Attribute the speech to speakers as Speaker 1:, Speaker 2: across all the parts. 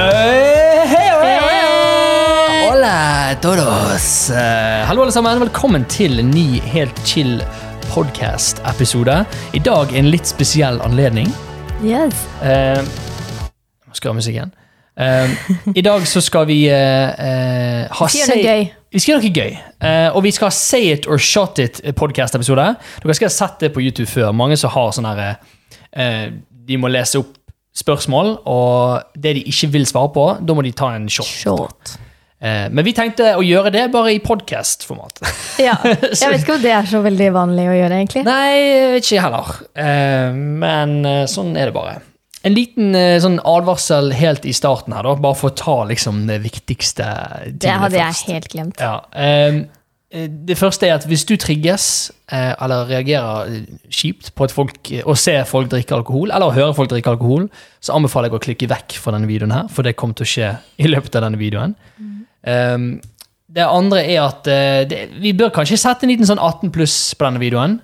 Speaker 1: Eh, todos! Eh, hallo, alle sammen. Velkommen til en ny Helt chill podcast-episode. I dag en litt spesiell anledning.
Speaker 2: Yes.
Speaker 1: Eh, Nå skal jeg ha musikken. Eh, I dag så skal vi eh, eh, ha
Speaker 2: Si noe
Speaker 1: say-
Speaker 2: gøy.
Speaker 1: Vi skal gjøre noe gøy. Eh, og vi skal ha Say it or shot it podcast-episode. Dere skal ha sett det på YouTube før. Mange som har sånn herre eh, De må lese opp spørsmål, og det de ikke vil svare på, da må de ta en shot.
Speaker 2: Short.
Speaker 1: Eh, men vi tenkte å gjøre det bare i podcast-format.
Speaker 2: Ja. Jeg vet ikke om det er så veldig vanlig å gjøre, egentlig.
Speaker 1: Nei, jeg vet ikke heller. Eh, men eh, sånn er det bare. En liten eh, sånn advarsel helt i starten her, da. Bare for å ta liksom det viktigste
Speaker 2: Det
Speaker 1: tingene
Speaker 2: hadde jeg
Speaker 1: først.
Speaker 2: helt glemt.
Speaker 1: Ja, ehm, eh, det første er at hvis du trigges eh, eller reagerer eh, kjipt på at folk, eh, å se folk drikke alkohol, eller å høre folk drikke alkohol, så anbefaler jeg å klikke vekk fra denne videoen her, for det kommer til å skje i løpet av denne videoen. Ehm, det andre er at eh, det, vi bør kanskje sette en liten sånn 18 pluss på denne videoen.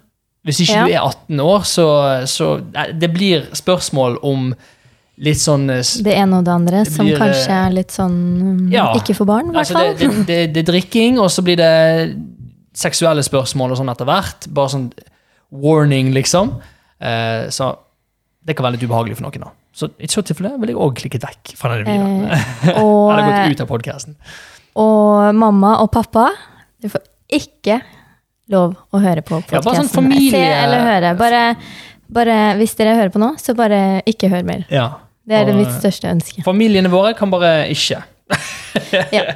Speaker 1: Hvis ikke
Speaker 2: Ja.
Speaker 1: du er 18 år, så, så eh, det blir spørsmål om litt sånn eh, s-
Speaker 2: Det ene og det andre,
Speaker 1: Det
Speaker 2: som
Speaker 1: blir, eh,
Speaker 2: kanskje er litt sånn mm,
Speaker 1: ja.
Speaker 2: ikke for barn, i hvert
Speaker 1: Altså,
Speaker 2: fall.
Speaker 1: det, det, det, det er drikking, og så blir det seksuelle spørsmål og sånn etter hvert. Bare sånn warning, liksom. Eh, så det kan være litt ubehagelig for noen. da. Så i så tilfelle vil jeg òg klikke vekk fra denne videoen.
Speaker 2: Eh, og,
Speaker 1: Eller gått ut av podkasten.
Speaker 2: og mamma og pappa, du får ikke lov å høre på
Speaker 1: Ja, bare sånn
Speaker 2: podkasten.
Speaker 1: familie-
Speaker 2: Se eller høre. Bare, bare, hvis dere hører på nå, så bare ikke hør mer.
Speaker 1: Ja.
Speaker 2: Det er det
Speaker 1: Og,
Speaker 2: mitt største ønske.
Speaker 1: Familiene våre kan bare ikke.
Speaker 2: Ja.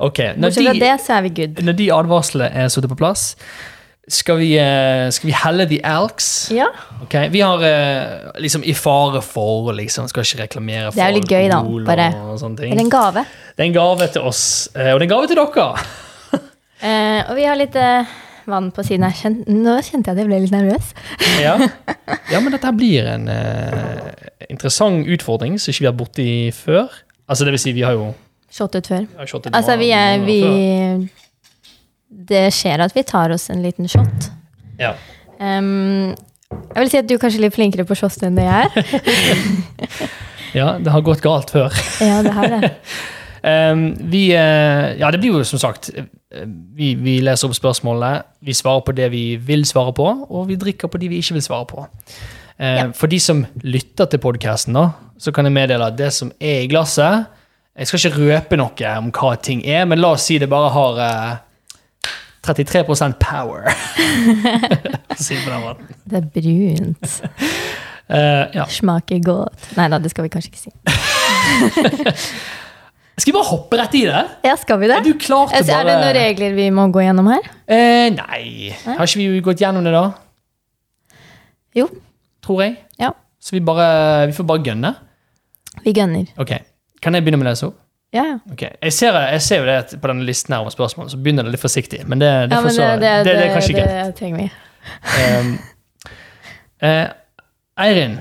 Speaker 1: Ok, når
Speaker 2: Bortsett fra
Speaker 1: de,
Speaker 2: det, så er vi good.
Speaker 1: når de advarslene er satt på plass, skal vi, eh, skal vi helle the alks.
Speaker 2: Ja,
Speaker 1: Ok, Vi har eh, liksom i fare for liksom, Skal ikke reklamere for
Speaker 2: Det er jo litt gøy, da,
Speaker 1: alkohol
Speaker 2: bare-
Speaker 1: og sånne
Speaker 2: Det er
Speaker 1: ting.
Speaker 2: en gave.
Speaker 1: Det er en gave til oss, eh, og det er en gave til dere.
Speaker 2: Eh, og vi har litt eh, vann på siden her. Kjen- Nå kjente jeg at jeg ble litt nervøs.
Speaker 1: Ja, ja men dette her blir en eh, interessant utfordring som ikke vi har borti før. Altså, det vil si, vi har jo
Speaker 2: Shottet før.
Speaker 1: vi har shottet
Speaker 2: Altså,
Speaker 1: noen
Speaker 2: vi er
Speaker 1: ganger
Speaker 2: vi,
Speaker 1: før.
Speaker 2: Det skjer at vi tar oss en liten shot.
Speaker 1: ja.
Speaker 2: Ehm, jeg vil si at du er kanskje litt flinkere på shot enn det jeg er.
Speaker 1: ja, det har gått galt før.
Speaker 2: Ja, det har det.
Speaker 1: Ehm, vi eh, Ja, det blir jo som sagt eh, vi, vi leser opp spørsmålene, vi svarer på det vi vil svare på, og vi drikker på de vi ikke vil svare på. Eh,
Speaker 2: Ja.
Speaker 1: For de som lytter til podkasten, så kan jeg meddele at det som er i glasset Jeg skal ikke røpe noe om hva ting er, men la oss si det bare har eh, 33 power. For å si det på den måten.
Speaker 2: Det er brunt.
Speaker 1: Eh, ja.
Speaker 2: Smaker godt. Nei da, det skal vi kanskje ikke si.
Speaker 1: Skal vi bare hoppe rett i det?
Speaker 2: Ja, skal vi det?
Speaker 1: Er du klar til
Speaker 2: Altså, er det
Speaker 1: bare
Speaker 2: noen regler vi må gå gjennom her?
Speaker 1: Eh, Nei. Har ikke vi gått gjennom det, da?
Speaker 2: Jo.
Speaker 1: tror jeg.
Speaker 2: Ja.
Speaker 1: Så vi, bare, vi får bare gønne.
Speaker 2: Vi gønner.
Speaker 1: Ok, Kan jeg begynne med å lese opp?
Speaker 2: Ja, ja.
Speaker 1: Ok, Jeg ser, jeg ser jo det at på denne listen her om spørsmål, så begynner det litt forsiktig. Men det, det,
Speaker 2: Ja, men
Speaker 1: får så, det, det, er kanskje greit.
Speaker 2: det trenger vi.
Speaker 1: Um, eh, Eirin,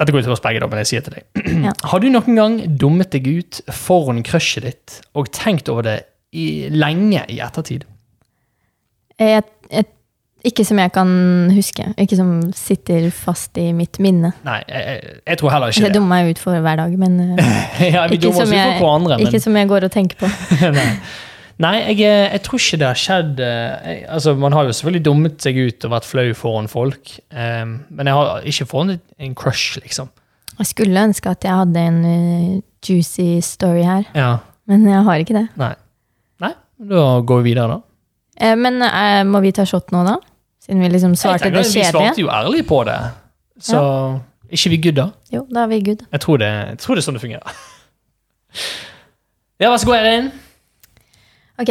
Speaker 1: dette går ut over oss begge, da, men jeg sier til deg.
Speaker 2: Ja.
Speaker 1: Har du noen gang dummet deg ut foran crushet ditt og tenkt over det i, lenge i ettertid?
Speaker 2: Jeg, jeg, Eh, ikke som jeg kan huske. Ikke som sitter fast i mitt minne. Altså,
Speaker 1: Nei, jeg, jeg, jeg tror heller ikke
Speaker 2: Jeg
Speaker 1: det.
Speaker 2: dummer meg ut for hver dag, men eh,
Speaker 1: Ja, vi
Speaker 2: ikke,
Speaker 1: dummer oss
Speaker 2: som
Speaker 1: ut
Speaker 2: jeg,
Speaker 1: for hverandre. men-
Speaker 2: ikke som jeg går og tenker på.
Speaker 1: Nei, Nei jeg, jeg tror ikke det har skjedd eh, jeg, altså, Man har jo selvfølgelig dummet seg ut og vært flau foran folk, eh, men jeg har ikke fått en, en crush, liksom.
Speaker 2: Jeg skulle ønske at jeg hadde en eh, juicy story her,
Speaker 1: Ja,
Speaker 2: men jeg har ikke det.
Speaker 1: Nei. Nei, Da går vi videre, da.
Speaker 2: Eh, men eh, må vi ta shot nå, da? Siden vi liksom
Speaker 1: Jeg
Speaker 2: svarte
Speaker 1: tenker
Speaker 2: det
Speaker 1: at Vi
Speaker 2: kjedelige.
Speaker 1: svarte jo ærlig på det, så ikke vi good, da?
Speaker 2: Jo, da er vi good.
Speaker 1: Jeg tror det, jeg tror det er sånn det fungerer. Ja, vær så god, Erin.
Speaker 2: Ok.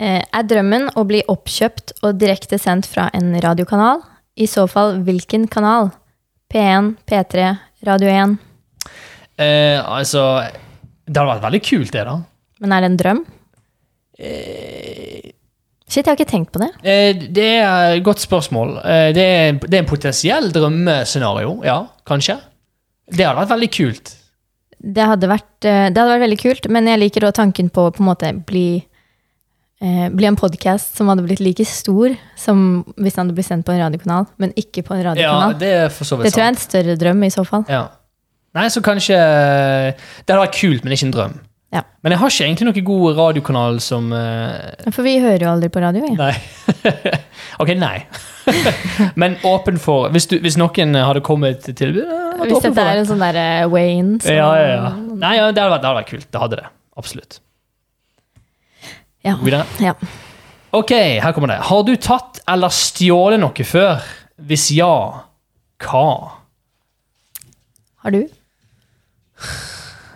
Speaker 2: Eh, er drømmen å bli oppkjøpt og direkte sendt fra en radiokanal? I så fall hvilken kanal? P1, P3, Radio 1.
Speaker 1: Eh, altså Det hadde vært veldig kult, det, da.
Speaker 2: Men er det en drøm? Eh. Shit, jeg har ikke tenkt på det.
Speaker 1: Eh, Det er et godt spørsmål. Eh, Det er, det er en potensiell drømmescenario, ja, kanskje. Det hadde vært veldig kult.
Speaker 2: Det hadde vært, eh, det hadde vært veldig kult, men jeg liker da tanken på å på en måte bli, eh, bli en podkast som hadde blitt like stor som hvis den hadde blitt sendt på en radiokanal, men ikke på en
Speaker 1: Ja,
Speaker 2: radiokanal.
Speaker 1: det er for så
Speaker 2: det
Speaker 1: vidt
Speaker 2: tror jeg er
Speaker 1: sant.
Speaker 2: en større drøm i så fall.
Speaker 1: eh, Ja. Nei, så kanskje Det hadde vært kult, men ikke en drøm.
Speaker 2: Ja.
Speaker 1: Men jeg har ikke egentlig noen god radiokanal som eh,
Speaker 2: For vi hører jo aldri på radio, vi.
Speaker 1: Nei. ok, nei. Men åpen for Hvis, du, hvis noen hadde kommet til tilbud eh, vært
Speaker 2: Hvis
Speaker 1: åpen
Speaker 2: dette
Speaker 1: for
Speaker 2: er en sånn derre way in, så
Speaker 1: Ja, ja, ja. Nei, ja, det hadde vært, det hadde vært kult. Det hadde det. Absolutt.
Speaker 2: Ja.
Speaker 1: Videre.
Speaker 2: Ja.
Speaker 1: Ok, her kommer det. Har du tatt eller stjålet noe før? Hvis ja, hva?
Speaker 2: Har du?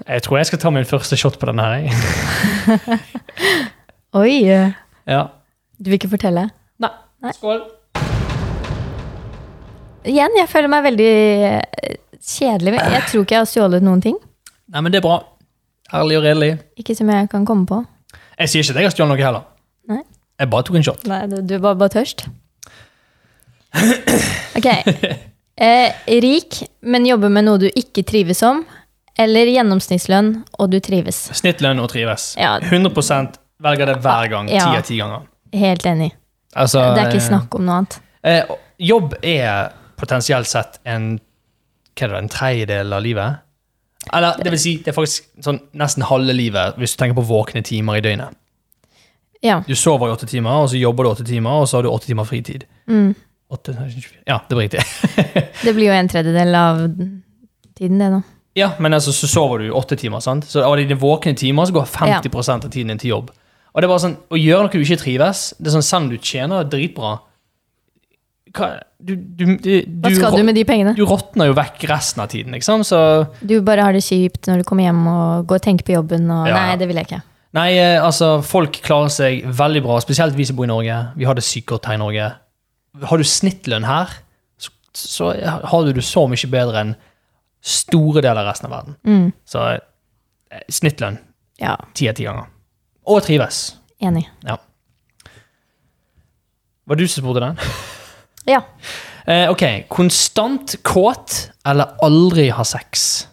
Speaker 1: Jeg tror jeg skal ta min første shot på denne her. jeg.
Speaker 2: Oi! eh,
Speaker 1: ja.
Speaker 2: Du vil ikke fortelle?
Speaker 1: Nei.
Speaker 2: Nei.
Speaker 1: Skål.
Speaker 2: Igjen, jeg føler meg veldig eh, kjedelig. men Jeg tror ikke jeg har stjålet noen ting.
Speaker 1: Nei, men det er bra. Ærlig og redelig.
Speaker 2: Ikke som jeg kan komme på.
Speaker 1: Jeg sier ikke at jeg har stjålet noe heller.
Speaker 2: Nei.
Speaker 1: Jeg bare tok en shot.
Speaker 2: Nei, du, du var bare tørst. Ok. Eh, rik, men jobber med noe du ikke trives om. Eller gjennomsnittslønn, og du trives.
Speaker 1: Snittlønn og trives.
Speaker 2: Ja.
Speaker 1: 100 velger det hver gang. Ti
Speaker 2: Ja.
Speaker 1: av ti ganger.
Speaker 2: Helt enig.
Speaker 1: Altså,
Speaker 2: Det er
Speaker 1: eh,
Speaker 2: ikke snakk om noe annet.
Speaker 1: Eh, jobb er potensielt sett en, hva er det, en tredjedel av livet. Eller det vil si, det er faktisk sånn nesten halve livet, hvis du tenker på våkne timer i døgnet.
Speaker 2: Ja.
Speaker 1: Du sover i åtte timer, og så jobber du åtte timer, og så har du åtte timer fritid.
Speaker 2: Mm.
Speaker 1: Åtte, nei, 24. ja, det var riktig.
Speaker 2: Det blir jo en tredjedel av tiden, det, da.
Speaker 1: Ja, men altså, så sover du åtte timer, sant? Så av dine våkne timer så går 50 av tiden din til jobb. Og det er bare sånn, å gjøre noe du ikke trives, det er sånn, selv om du tjener dritbra, hva, du, du, du,
Speaker 2: Hva skal du med de pengene?
Speaker 1: du råtner jo vekk resten av tiden, liksom. Så
Speaker 2: Du bare har det kjipt når du kommer hjem og går og tenker på jobben og
Speaker 1: Ja.
Speaker 2: Nei, det vil jeg ikke.
Speaker 1: Nei, eh, altså, folk klarer seg veldig bra, spesielt vi som bor i Norge. Vi har det sykt godt her i Norge. Har du snittlønn her, så, så har du det så mye bedre enn store deler av resten av verden.
Speaker 2: Mm.
Speaker 1: Så eh, snittlønn
Speaker 2: Ja,
Speaker 1: ti av ti ganger. Og trives.
Speaker 2: enig.
Speaker 1: Var det du som spurte den?
Speaker 2: Ja.
Speaker 1: Eh, ok. Konstant kåt eller aldri ha sex?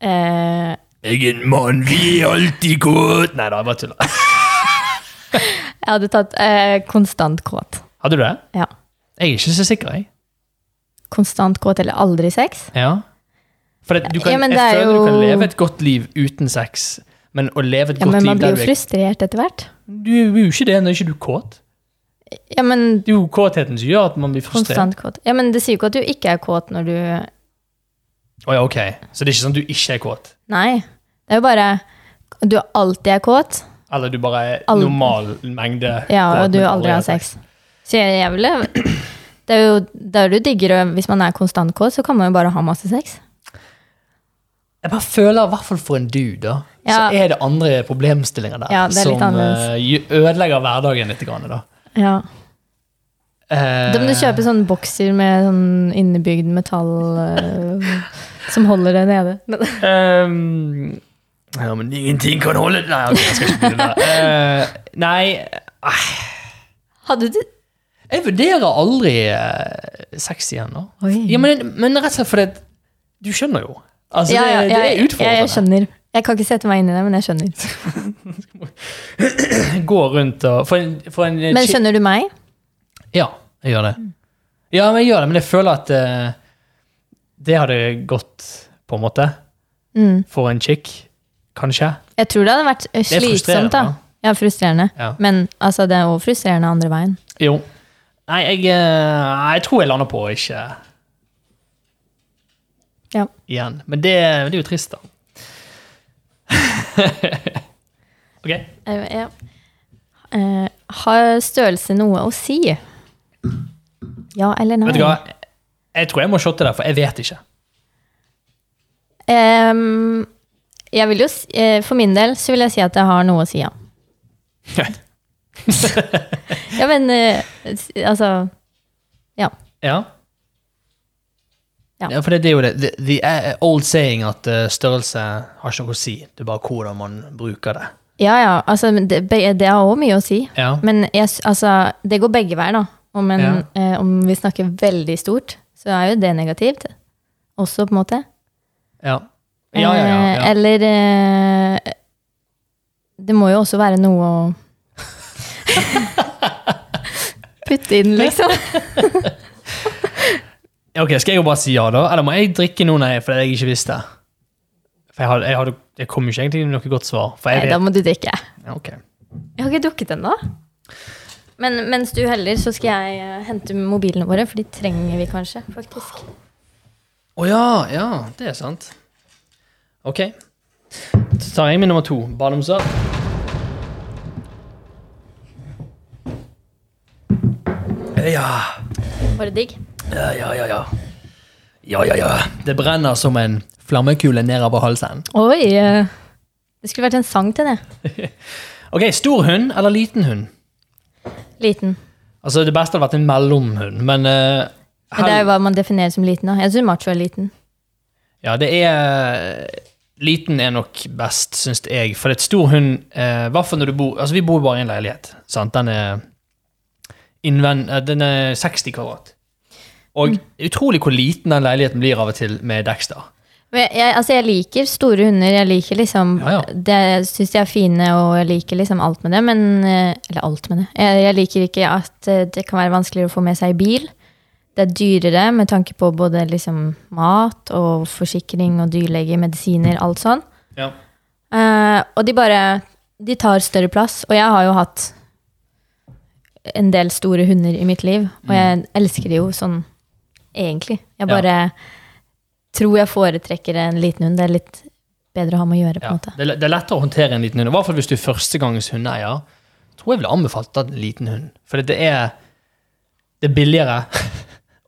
Speaker 2: Eh,
Speaker 1: Jeg er en mann, vi er alltid kåt! Nei da, jeg bare tuller.
Speaker 2: jeg hadde tatt eh, konstant kåt.
Speaker 1: Hadde du det?
Speaker 2: Ja.
Speaker 1: Jeg er ikke så sikker, jeg.
Speaker 2: Konstant kåt eller aldri sex?
Speaker 1: Ja. For det, du kan,
Speaker 2: Ja, men det
Speaker 1: jeg
Speaker 2: er
Speaker 1: føler du kan
Speaker 2: jo-
Speaker 1: leve et godt liv uten sex, men å leve et
Speaker 2: Ja,
Speaker 1: godt
Speaker 2: men
Speaker 1: liv
Speaker 2: man blir
Speaker 1: der
Speaker 2: jo
Speaker 1: du er
Speaker 2: frustrert etter hvert.
Speaker 1: Du er jo ikke det når ikke du er kåt.
Speaker 2: Ja, men
Speaker 1: Det er jo kåtheten som gjør at man blir frustrert.
Speaker 2: konstant kåt. Ja, men det sier jo ikke at du ikke er kåt når du
Speaker 1: Å ja, ok. Så det er ikke sånn at du ikke er kåt.
Speaker 2: Nei. Det er jo bare Du alltid er kåt,
Speaker 1: Eller du bare er
Speaker 2: Aldri.
Speaker 1: normal mengde
Speaker 2: ja,
Speaker 1: kåt,
Speaker 2: og du
Speaker 1: men
Speaker 2: aldri har sex. Så jeg, jeg ville Det er jo der du digger å Hvis man er konstant kåt, så kan man jo bare ha masse sex.
Speaker 1: Jeg bare føler, i hvert fall for en dude, da,
Speaker 2: Ja.
Speaker 1: så er det andre problemstillinger der
Speaker 2: Ja, det er litt
Speaker 1: som eh,
Speaker 2: annerledes.
Speaker 1: ødelegger hverdagen litt. Grann, da.
Speaker 2: Ja.
Speaker 1: Eh,
Speaker 2: Da må du kjøpe sånne bokser med sånn innebygd metall eh, som holder det nede. Men,
Speaker 1: Eh, Ehm, ja, men ingenting kan holde Nei, ok, jeg skal ikke begynne der. Eh, nei,
Speaker 2: hadde du
Speaker 1: jeg vurderer aldri eh, sex igjen. da.
Speaker 2: Oi.
Speaker 1: Ja, men, men rett og slett fordi at du skjønner jo. Altså,
Speaker 2: Ja, ja,
Speaker 1: det,
Speaker 2: jeg-
Speaker 1: det er
Speaker 2: Jeg, jeg
Speaker 1: utfordrende.
Speaker 2: skjønner. Jeg kan ikke sette meg inn i det, men jeg skjønner.
Speaker 1: Gå rundt og For en, for en
Speaker 2: Men Mm. skjønner du meg?
Speaker 1: Ja, jeg gjør det. Ja, men jeg gjør det, men jeg føler at eh, det hadde gått, på en måte,
Speaker 2: Mm.
Speaker 1: for en chick. Kanskje.
Speaker 2: Jeg tror det hadde vært eh,
Speaker 1: Det er frustrerende,
Speaker 2: slitsomt, da.
Speaker 1: da.
Speaker 2: Ja, frustrerende.
Speaker 1: Ja.
Speaker 2: Men altså, det er også frustrerende andre veien.
Speaker 1: Jo. Nei, jeg, eh, jeg tror jeg lander på å ikke
Speaker 2: Ja.
Speaker 1: igjen. Men det, det er jo trist, da. ok.
Speaker 2: Eh, ja. Eh, har størrelse noe å si? Ja eller nei?
Speaker 1: Vet du hva? Jeg tror jeg må shotte der, for jeg vet ikke.
Speaker 2: Ehm, jeg vil jo, s- eh, for min del så vil jeg si at jeg har noe å si, ja. ja, men eh, s- altså Ja.
Speaker 1: Ja.
Speaker 2: Ja.
Speaker 1: for det, det er jo det. The, the eh, old saying at eh, størrelse har ikke noe å si. Det er bare hvordan man bruker det.
Speaker 2: Ja ja, altså, men det, be- det har òg mye å si.
Speaker 1: Ja.
Speaker 2: Men jeg, s- altså, det går begge veier, da. Om, en,
Speaker 1: Ja.
Speaker 2: eh, om vi snakker veldig stort, så er jo det negativt. Også, på en måte.
Speaker 1: Ja, ja, ja. ja,
Speaker 2: Eh,
Speaker 1: ja.
Speaker 2: Eller eh, Det må jo også være noe å putte inn, liksom.
Speaker 1: Ok, Skal jeg jo bare si ja, da? Eller må jeg drikke nå, nei, fordi jeg ikke visste? For jeg hadde, jeg hadde Det kom jo ikke egentlig noe godt svar. For
Speaker 2: Nei,
Speaker 1: jeg
Speaker 2: da
Speaker 1: vet.
Speaker 2: må du drikke.
Speaker 1: Ja, ok.
Speaker 2: Jeg har ikke drukket ennå. Men mens du heller, så skal jeg eh, hente mobilene våre, for de trenger vi kanskje, faktisk.
Speaker 1: Å ja, ja, det er sant. Ok. Så tar jeg min nummer to. Badeomsorg. Ja.
Speaker 2: Var det digg?
Speaker 1: Ja, ja, ja, ja. Ja, ja, ja. Det brenner som en flammekule nedover halsen.
Speaker 2: Oi! eh, Det skulle vært en sang til det.
Speaker 1: Ok, stor hund eller liten hund?
Speaker 2: Liten.
Speaker 1: Altså, det beste hadde vært en mellomhund, men eh,
Speaker 2: Men det er jo hva man definerer som liten. da. Jeg syns macho er liten.
Speaker 1: Ja, det er Liten er nok best, syns jeg. For et stor hund eh, hvert fall når du bor Altså, vi bor bare i en leilighet. Sant? Den er innvend... eh, Den er 60 kvadrat. Og utrolig hvor liten den leiligheten blir av og til med Dexter.
Speaker 2: Men jeg, jeg, altså jeg liker store hunder. Jeg liker liksom
Speaker 1: Ja, ja.
Speaker 2: Det, Jeg syns de er fine, og jeg liker liksom alt med det, men eh, Eller alt med det. Jeg, jeg liker ikke at eh, det kan være vanskeligere å få med seg i bil. Det er dyrere med tanke på både liksom mat og forsikring og dyrlege, medisiner, alt sånn.
Speaker 1: Ja.
Speaker 2: Eh, og de bare De tar større plass. Og jeg har jo hatt en del store hunder i mitt liv, og jeg elsker de jo sånn egentlig. Jeg
Speaker 1: Mm. Ja.
Speaker 2: bare tror jeg foretrekker en liten hund. Det er litt bedre å ha med å gjøre, på en måte.
Speaker 1: Det, er- det er lettere å håndtere en liten hund. I hvert fall hvis du er førstegangens hundeeier. Tror jeg ville anbefalt en liten hund. For det er Det er billigere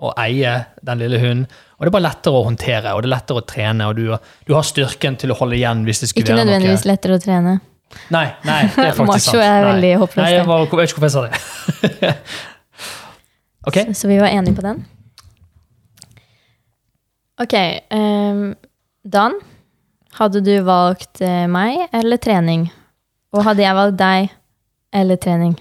Speaker 1: å eie den lille hunden. Og det er bare lettere å håndtere, og det er lettere å trene, og du, du har styrken til å holde igjen hvis det skulle
Speaker 2: Ikke
Speaker 1: være noe.
Speaker 2: nødvendigvis lettere å trene.
Speaker 1: Nei, nei, det er faktisk
Speaker 2: Macho
Speaker 1: sant.
Speaker 2: er
Speaker 1: Nei.
Speaker 2: veldig håpløs
Speaker 1: Nei, jeg,
Speaker 2: der.
Speaker 1: var, jeg vet ikke hvorfor jeg sa det. ok,
Speaker 2: Så, så vi var enige på den. Ok. ehm, Dan, hadde du valgt eh, meg eller trening? Og hadde jeg valgt deg eller trening?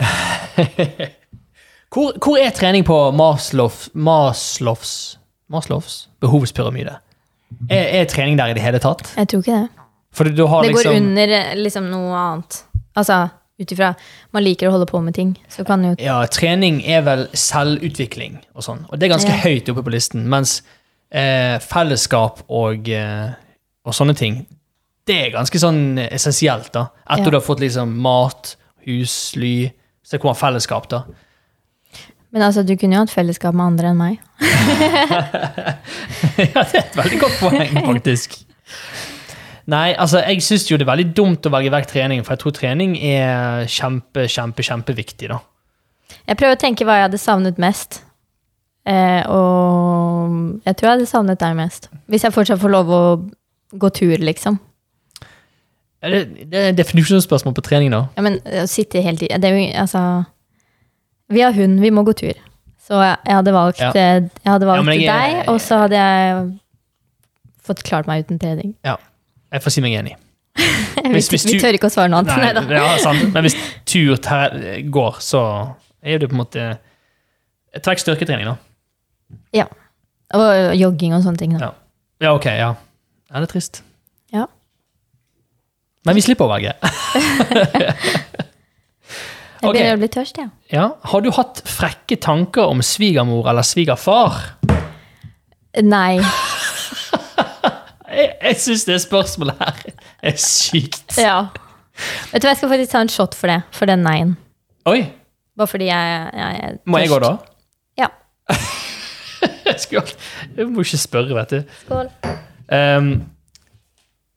Speaker 1: hvor, hvor er trening på Maslow, Maslows, Maslows behovspyramide? Er, er trening der i det hele tatt?
Speaker 2: Jeg tror ikke det.
Speaker 1: For du, du har
Speaker 2: Det går
Speaker 1: liksom
Speaker 2: under eh, liksom noe annet. Altså, ut ifra man liker å holde på med ting, så kan jo
Speaker 1: Ja, trening er vel selvutvikling og sånn. Og det er ganske
Speaker 2: Ja.
Speaker 1: høyt oppe på listen. Mens eh, fellesskap og, eh, og sånne ting, det er ganske sånn essensielt, da. Etter
Speaker 2: Ja.
Speaker 1: du har fått liksom mat, hus, ly, så kommer fellesskap, da.
Speaker 2: Men altså, du kunne jo hatt fellesskap med andre enn meg.
Speaker 1: ja, det er et veldig godt poeng, faktisk. Nei, altså, jeg syns jo det er veldig dumt å velge vekk trening, for jeg tror trening er kjempe, kjempe, kjempeviktig, da.
Speaker 2: Jeg prøver å tenke hva jeg hadde savnet mest. Eh, og jeg tror jeg hadde savnet deg mest. Hvis jeg fortsatt får lov å gå tur, liksom.
Speaker 1: Er Det, det er et definisjonsspørsmål på trening, da.
Speaker 2: Ja, men eh, å sitte hele tiden det er jo, altså, Vi har hund, vi må gå tur. Så jeg, jeg hadde valgt,
Speaker 1: Ja.
Speaker 2: eh, jeg hadde
Speaker 1: Ja,
Speaker 2: valgt
Speaker 1: men jeg er-
Speaker 2: deg, og så hadde jeg fått klart meg uten trening.
Speaker 1: Jeg får si meg enig.
Speaker 2: Vi,
Speaker 1: Hvis- hvis
Speaker 2: vi
Speaker 1: du-
Speaker 2: tør ikke å svare noe annet. Nei, da.
Speaker 1: ja, sant. Men hvis tur ter går, så er det på en måte Et vekk styrketrening, da.
Speaker 2: Og øh, jogging og sånne ting. Da.
Speaker 1: Ja. Ja, ok, ja. Ja, det er trist.
Speaker 2: Ja.
Speaker 1: Men vi slipper å velge.
Speaker 2: Jeg
Speaker 1: Ok.
Speaker 2: begynner å bli tørst, jeg.
Speaker 1: Ja. Har du hatt frekke tanker om svigermor eller svigerfar?
Speaker 2: Ja. Nei.
Speaker 1: Jeg, jeg syns det spørsmålet her er sykt.
Speaker 2: Ja. Vet du hva, jeg skal faktisk ta en shot for det. For den nei-en.
Speaker 1: Oi,
Speaker 2: Bare fordi jeg, jeg er
Speaker 1: må jeg gå da?
Speaker 2: Ja.
Speaker 1: Jeg, skulle, jeg må ikke spørre, vet du.
Speaker 2: Skål.
Speaker 1: Um,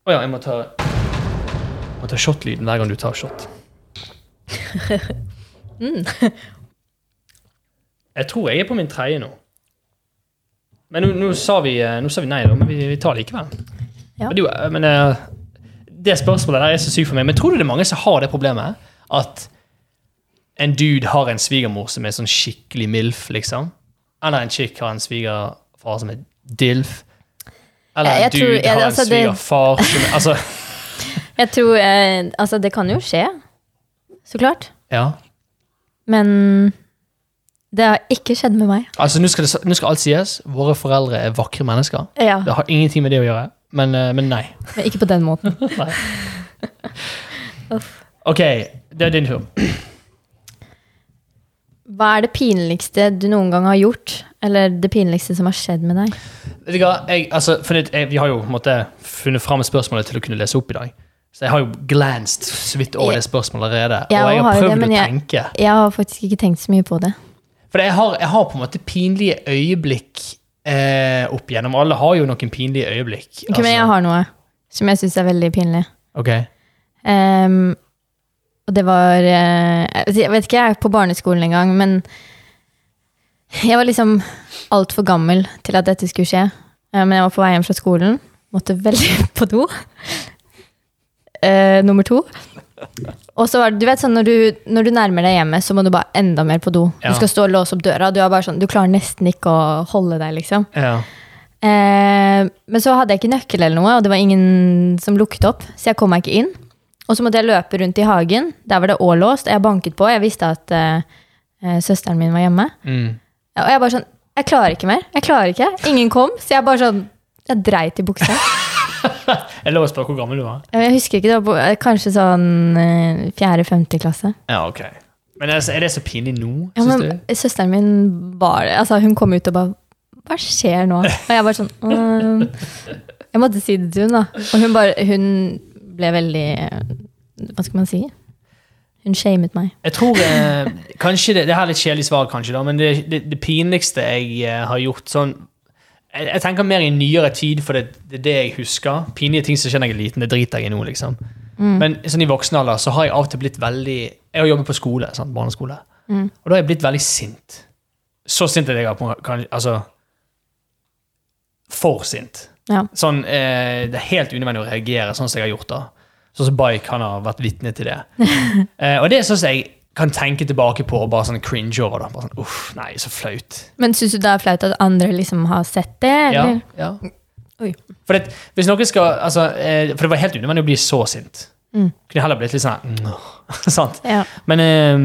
Speaker 1: å ja, jeg må ta, jeg må ta shot-lyden hver gang du tar shot.
Speaker 2: Mm.
Speaker 1: Jeg tror jeg er på min tredje nå. Men nå, nå, sa vi, eh, nå sa vi nei, da, men vi, vi tar likevel.
Speaker 2: Ja.
Speaker 1: Men, det er jo- men eh, Det spørsmålet der er så sykt for meg. Men tror du det er mange som har det problemet? At en dude har en svigermor som er sånn skikkelig MILF, liksom? Eller en chick har en svigerfar som er DILF? Eller en
Speaker 2: Jeg- jeg
Speaker 1: dude
Speaker 2: tror- ja,
Speaker 1: har
Speaker 2: altså,
Speaker 1: en
Speaker 2: det-
Speaker 1: svigerfar som er Altså,
Speaker 2: Jeg tror eh, Altså, det kan jo skje. Så klart.
Speaker 1: ja.
Speaker 2: Men det har ikke skjedd med meg.
Speaker 1: Altså, nå skal, det, nå skal alt sies. Våre foreldre er vakre mennesker.
Speaker 2: Ja,
Speaker 1: Det har ingenting med det å gjøre. Men, eh, men nei.
Speaker 2: men Ikke på den måten.
Speaker 1: Nei.
Speaker 2: Uff.
Speaker 1: Ok, det er din tur.
Speaker 2: Hva er det pinligste du noen gang har gjort? Eller det pinligste som har skjedd med deg?
Speaker 1: Vet du hva, jeg, altså, for det, jeg, vi har jo på en måte, funnet fram spørsmålet til å kunne lese opp i dag. Så jeg har jo glanced så vidt over det spørsmålet allerede.
Speaker 2: Jeg
Speaker 1: og jeg har
Speaker 2: har jo det,
Speaker 1: prøvd å
Speaker 2: men jeg-
Speaker 1: tenke.
Speaker 2: Jeg har faktisk ikke tenkt så mye på det.
Speaker 1: For jeg har, jeg har på en måte pinlige øyeblikk eh, opp igjennom. Alle har jo noen pinlige øyeblikk. Altså.
Speaker 2: Ok, men jeg har noe som jeg syns er veldig pinlig.
Speaker 1: Ok.
Speaker 2: Ehm, og det var eh, Jeg vet ikke, jeg er på barneskolen en gang, men jeg var liksom altfor gammel til at dette skulle skje. Eh, men jeg var på vei hjem fra skolen, måtte veldig på do. Eh, nummer to. Og så var det, du vet sånn, når du, når du nærmer deg hjemmet, så må du bare enda mer på do.
Speaker 1: Ja.
Speaker 2: Du skal stå og låse opp døra, du, er bare sånn, du klarer nesten ikke å holde deg, liksom.
Speaker 1: Ja.
Speaker 2: Eh, men så hadde jeg ikke nøkkel eller noe, og det var ingen som lukket opp, så jeg kom meg ikke inn. Og så måtte jeg løpe rundt i hagen. Der var det òg låst. og Jeg banket på. Jeg visste at eh, eh, søsteren min var hjemme.
Speaker 1: Mm.
Speaker 2: Og jeg bare sånn Jeg klarer ikke mer. Jeg klarer ikke. Ingen kom, så jeg bare sånn Jeg dreit i buksa.
Speaker 1: Jeg lover å spørre hvor gammel du var.
Speaker 2: Jeg husker ikke, det var på, eh, kanskje sånn fjerde-femte klasse.
Speaker 1: Ja, ok. Men altså, er det så pinlig nå,
Speaker 2: Ja,
Speaker 1: syns
Speaker 2: men
Speaker 1: du?
Speaker 2: søsteren min var Altså, hun kom ut og bare Hva skjer nå? Og jeg bare sånn «Mm». Jeg måtte si det til hun, da. Og hun bare Hun ble veldig Hva skal man si? Hun shamet meg.
Speaker 1: Jeg tror eh, kanskje det, det her er litt kjedelig svar, kanskje, da, men det, det, det pinligste jeg eh, har gjort sånn jeg, jeg tenker mer i nyere tid, for det, det er det jeg husker. Pinlige ting som skjer når jeg er liten, det driter jeg i nå, liksom. Men sånn i voksen alder så har jeg av og til blitt veldig Jeg har jobbet på skole, sant, barneskole. Og da har jeg blitt veldig sint. Så sint at jeg har på kan, Altså For sint.
Speaker 2: Ja.
Speaker 1: Sånn, eh, det er helt unødvendig å reagere sånn som jeg har gjort da. Sånn som Baik han har vært vitne til det. eh, og det er sånn som jeg kan tenke tilbake på og bare sånn cringe over. da. Bare sånn, uff, nei, så flaut.
Speaker 2: Men syns du det er flaut at andre liksom har sett det?
Speaker 1: Ja,
Speaker 2: Eller?
Speaker 1: ja.
Speaker 2: Oi.
Speaker 1: For, det, hvis noen skal, altså, eh, for det var helt unødvendig å bli så sint.
Speaker 2: Mm.
Speaker 1: Kunne heller blitt litt sånn mm, åh, sant?
Speaker 2: Ja.
Speaker 1: Men eh,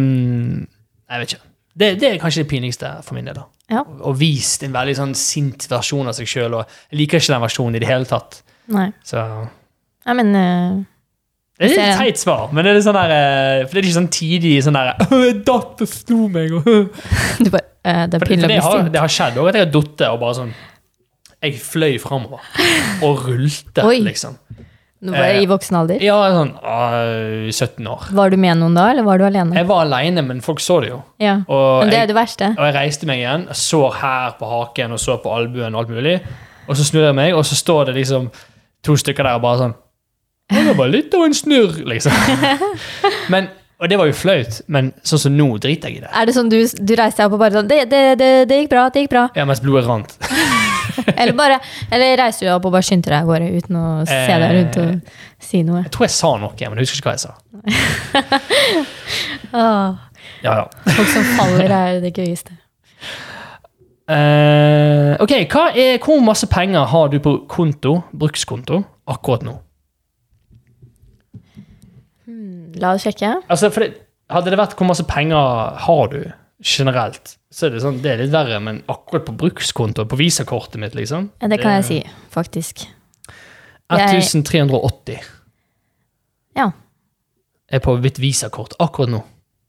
Speaker 1: jeg vet ikke. Det, det er kanskje det pinligste for min del. da.
Speaker 2: Ja.
Speaker 1: Å vise en veldig sånn sint versjon av seg sjøl. Jeg liker ikke den versjonen i det hele tatt.
Speaker 2: Nei.
Speaker 1: Så...
Speaker 2: Nei, men eh,
Speaker 1: Det er
Speaker 2: Jeg
Speaker 1: litt
Speaker 2: ser
Speaker 1: teit svar, men det er litt sånn der, eh, for det er ikke sånn tidig sånn der «Åh, Datt og slo meg, og øh».
Speaker 2: Du bare
Speaker 1: For
Speaker 2: eh, Det er
Speaker 1: det, for
Speaker 2: pinlig
Speaker 1: det,
Speaker 2: å bli
Speaker 1: har,
Speaker 2: sint.
Speaker 1: det har skjedd òg, at jeg har datt og bare sånn Jeg fløy framover og rulte,
Speaker 2: Oi.
Speaker 1: liksom.
Speaker 2: Du bare
Speaker 1: eh,
Speaker 2: I voksen alder.
Speaker 1: Ja, sånn øh, 17 år.
Speaker 2: Var du med noen da, eller var du alene?
Speaker 1: Jeg var aleine, men folk så det jo.
Speaker 2: Ja.
Speaker 1: Eh, Og
Speaker 2: Men det
Speaker 1: jeg,
Speaker 2: er det verste.
Speaker 1: og jeg reiste meg igjen, sår her på haken og så på albuen og alt mulig. Og så snur jeg meg, og så står det liksom to stykker der og bare sånn «Å, Det var litt av en snurr, liksom. Men, og det var jo flaut, men sånn som nå driter jeg i det.
Speaker 2: Er det sånn du, du reiser deg opp og bare sånn det, det, det, det gikk bra, det gikk bra.
Speaker 1: Ja, mens blodet rant.
Speaker 2: Eller, bare, eller reiser du deg opp og bare skynder deg av gårde uten å se deg rundt og si noe?
Speaker 1: Jeg tror jeg sa noe, men jeg husker ikke hva jeg sa.
Speaker 2: Åh,
Speaker 1: Ja, ja.
Speaker 2: folk som faller, er det gøyeste.
Speaker 1: Eh, ok, hva er, Hvor masse penger har du på konto, brukskonto akkurat nå?
Speaker 2: Hmm, La oss sjekke.
Speaker 1: Altså, for det, Hadde det vært hvor masse penger har du generelt, så er det sånn, det er litt verre, men akkurat på brukskonto, på visakortet mitt, liksom
Speaker 2: Ja, Det kan jeg si, faktisk. Jeg-
Speaker 1: 1380
Speaker 2: Ja.
Speaker 1: er på mitt visakort akkurat nå.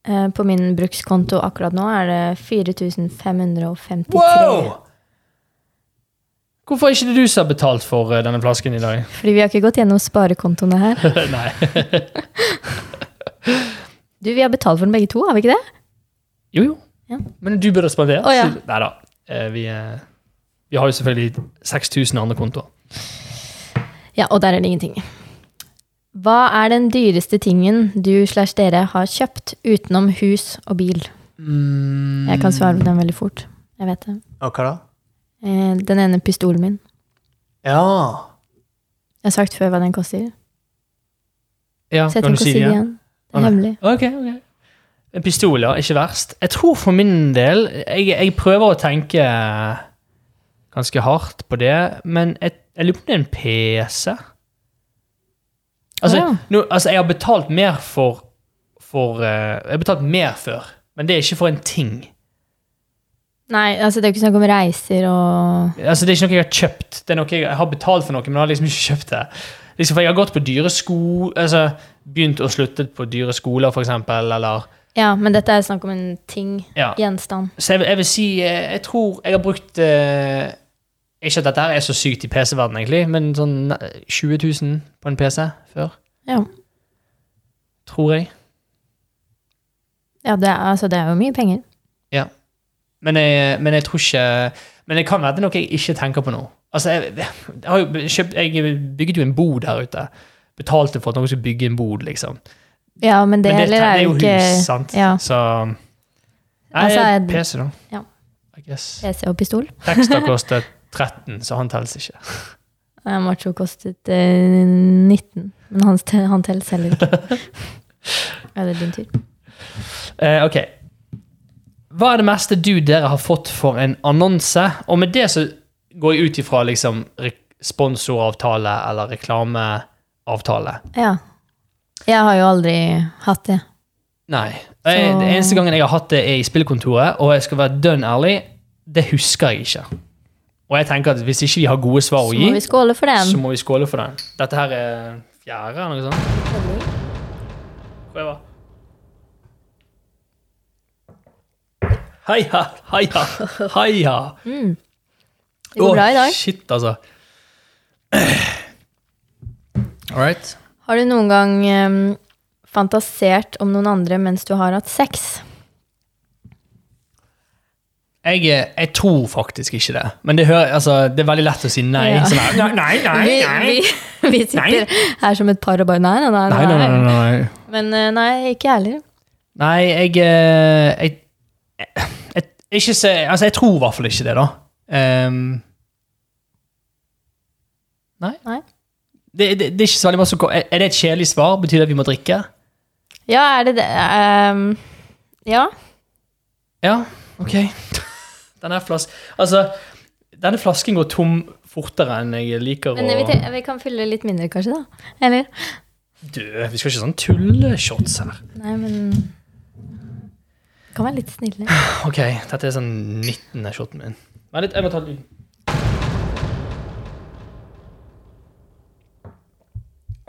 Speaker 2: eh, På min brukskonto akkurat nå er det 4553.
Speaker 1: Hvorfor er ikke det du som har betalt for eh, denne flasken i dag?
Speaker 2: Fordi vi har ikke gått gjennom sparekontoene her.
Speaker 1: Nei.
Speaker 2: Du, vi har betalt for den begge to, har vi ikke det?
Speaker 1: Jo, jo.
Speaker 2: Ja.
Speaker 1: Men du burde spandere.
Speaker 2: Å, ja.
Speaker 1: Nei da. Vi, eh, vi har jo selvfølgelig 6000 andre kontoer.
Speaker 2: Ja, og der er det ingenting. Hva er den dyreste tingen du slash dere har kjøpt utenom hus og bil?
Speaker 1: Mm.
Speaker 2: Jeg kan svare på den veldig fort. Jeg vet det.
Speaker 1: Og hva da?
Speaker 2: Eh, Den ene pistolen min.
Speaker 1: Ja.
Speaker 2: Jeg har sagt før hva den koster.
Speaker 1: ja
Speaker 2: Så jeg
Speaker 1: kan
Speaker 2: trenger
Speaker 1: du
Speaker 2: ikke å si det igjen. Det
Speaker 1: Å,
Speaker 2: er
Speaker 1: nei.
Speaker 2: hemmelig.
Speaker 1: Ok, ok. En pistol, ja. Ikke verst. Jeg tror for min del Jeg, jeg prøver å tenke ganske hardt på det, men jeg, jeg lurer på om det er en PC. Altså,
Speaker 2: Ja.
Speaker 1: nå, altså, jeg har betalt mer for, for eh, Jeg har betalt mer før, men det er ikke for en ting.
Speaker 2: Nei, altså det er jo ikke snakk om reiser og
Speaker 1: Altså, det er ikke noe jeg har kjøpt. Det er noe jeg har betalt for noe, men jeg har liksom ikke kjøpt det. Liksom, for jeg har gått på dyre sko, altså, begynt og sluttet på dyre skoler, for eksempel, eller
Speaker 2: Ja, men dette er snakk om en ting.
Speaker 1: Ja.
Speaker 2: Gjenstand.
Speaker 1: Så jeg, vil- jeg vil si eh, Jeg tror jeg har brukt eh, Ikke at dette her er så sykt i PC-verden, egentlig, men sånn eh, 20 000 på en PC før,
Speaker 2: Ja.
Speaker 1: tror jeg.
Speaker 2: ja det, er, altså, det er jo mye penger.
Speaker 1: Men jeg, men jeg tror ikke Men det kan være det er noe jeg ikke tenker på nå. Altså, jeg, jeg har jo kjøpt Jeg bygget jo en bod her ute. Betalte for at noen skulle bygge en bod, liksom.
Speaker 2: Ja, men det,
Speaker 1: men
Speaker 2: heller er jo ikke
Speaker 1: hus, sant?
Speaker 2: ja.
Speaker 1: Så Nei,
Speaker 2: Altså, jeg-
Speaker 1: PC, da.
Speaker 2: Ja.
Speaker 1: I guess.
Speaker 2: PC og pistol.
Speaker 1: Tekster koster 13, så han telles ikke.
Speaker 2: Eh, Macho kostet eh, 19, men han, st- han telles heller ikke. ja, det er din tur.
Speaker 1: Eh, ok. Hva er det meste du dere har fått for en annonse? Og med det så går jeg ut ifra liksom re- sponsoravtale eller reklameavtale.
Speaker 2: Ja. Jeg har jo aldri hatt det.
Speaker 1: Nei. Jeg,
Speaker 2: Så-
Speaker 1: det eneste gangen jeg har hatt det, er i spillkontoret, og jeg skal være dønn ærlig, det husker jeg ikke. Og jeg tenker at hvis ikke vi har gode svar å
Speaker 2: Så
Speaker 1: gi,
Speaker 2: må vi skåle for
Speaker 1: så
Speaker 2: den.
Speaker 1: må vi skåle for den. Dette her er fjerde eller noe sånt. Prøver. Heia, heia, heia.
Speaker 2: Det går bra i dag.
Speaker 1: Shit, altså. All right.
Speaker 2: Har du noen gang eh, fantasert om noen andre mens du har hatt sex?
Speaker 1: Jeg, eh, jeg tror faktisk ikke det. Men det, hører, altså, det er veldig lett å si nei.
Speaker 2: Ja.
Speaker 1: Sånn her, nei, nei, nei,
Speaker 2: Vi,
Speaker 1: nei.
Speaker 2: vi, vi sitter her som et par og bare nei, nei, nei.
Speaker 1: Nei, nei, nei, nei, nei.
Speaker 2: Men eh, nei, ikke jeg heller.
Speaker 1: Nei, jeg eh, Jeg, jeg, jeg, ikke se, altså, jeg tror i hvert fall ikke det, da. Ehm, nei.
Speaker 2: Nei.
Speaker 1: Det, det, det er ikke så veldig masse som kom- Er er det et kjedelig svar? Betyr det at vi må drikke?
Speaker 2: Ja, er det det? Ehm, ja.
Speaker 1: Ja, ok. Denne, flas altså, denne flasken går tom fortere enn jeg liker
Speaker 2: Men vi,
Speaker 1: å
Speaker 2: tre- vi kan fylle litt mindre, kanskje, da? Eller?
Speaker 1: Dø, vi skal ikke sånn tulleshots her.
Speaker 2: Nei, men Kan være litt snillere.
Speaker 1: Ok, dette er sånn 19. shoten min. Vent litt, jeg må ta lyden.